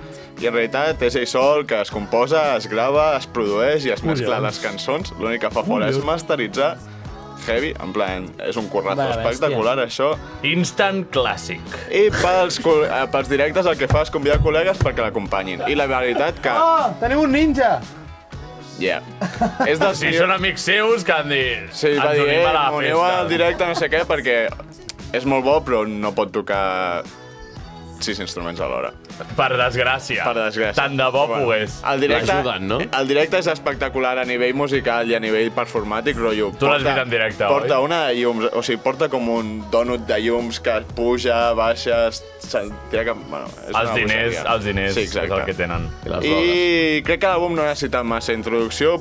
I en realitat és ell sol que es composa, es grava, es produeix i es mescla
Collons.
les cançons. L'únic que fa fora és
Collons.
masteritzar heavy, en plan, és un currazo
Va, bèstia.
espectacular, això.
Instant clàssic.
I pels, col- eh, pels directes el que fa és convidar col·legues perquè l'acompanyin. I la veritat que...
Oh, tenim un ninja!
Yeah. És dels
si
millors-
són amics seus que han dit...
Sí, va
ens
dir,
unim
eh,
a la
m'uniu
festa.
al directe, no sé què, perquè és molt bo, però no pot tocar sis instruments alhora.
Per desgràcia.
Per desgràcia. ah,
Tant de bo pogués.
El directe,
L'ajuden, no?
el directe és espectacular a nivell musical i a nivell performàtic, rotllo.
Tu l'has
porta-
vist en directe,
Porta
oi?
una de llums, o sigui, porta com un donut de llums que puja, baixa, es- se'n tira cap... Bueno, és
Els
una
diners,
bogeria.
els diners
sí,
és
exacte.
el que tenen.
I crec que l'àlbum no necessita massa introducció,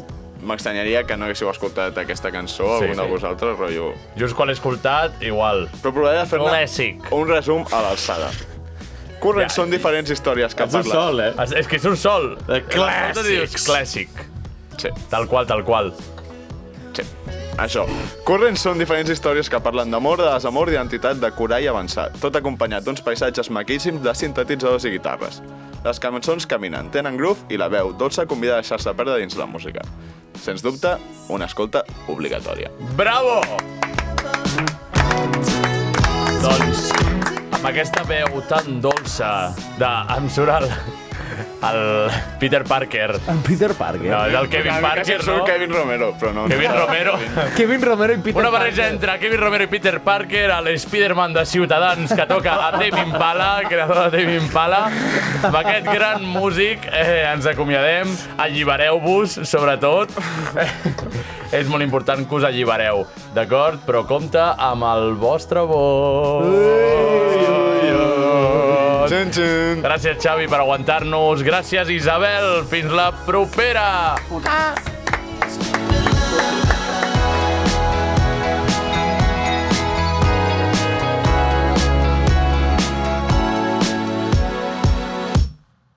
m'extanyaria que no haguéssiu escoltat aquesta cançó,
Sí,
sí, algun sí.
sí.
de vosaltres, rotllo...
Just quan l'he escoltat, igual.
Però provaré de fer-ne
Clàssic.
un resum a l'alçada. Correcte, són diferents històries que
És un
parlen.
sol, eh? És, és que és un sol.
Eh, clàssics.
Dius, clàssic.
Sí.
Tal qual, tal qual.
Sí, això. Corrents són diferents històries que parlen d'amor, de desamor, d'identitat, de curar i avançar, tot acompanyat d'uns paisatges maquíssims de sintetitzadors i guitarres. Les cançons caminen, tenen groove i la veu dolça convida a deixar-se perdre dins la música. Sens dubte, una escolta obligatòria.
Bravo! Doncs, amb aquesta veu tan dolça de em surt el, el Peter Parker.
En Peter Parker.
No, és el Kevin Parker,
Casi em
no?
surt Kevin Romero, però no.
Kevin Romero.
Kevin Romero i Peter
Una barreja entre Kevin Romero i Peter Parker, el Spider-Man de Ciutadans que toca a Tame Impala, creador de Tame Impala. Amb aquest gran músic eh, ens acomiadem. Allibereu-vos, sobretot. Eh, És molt important que us allibereu, d'acord? Però compte amb el vostre vot. Gràcies, Xavi, per aguantar-nos. Gràcies, Isabel. Fins la propera.
Ah.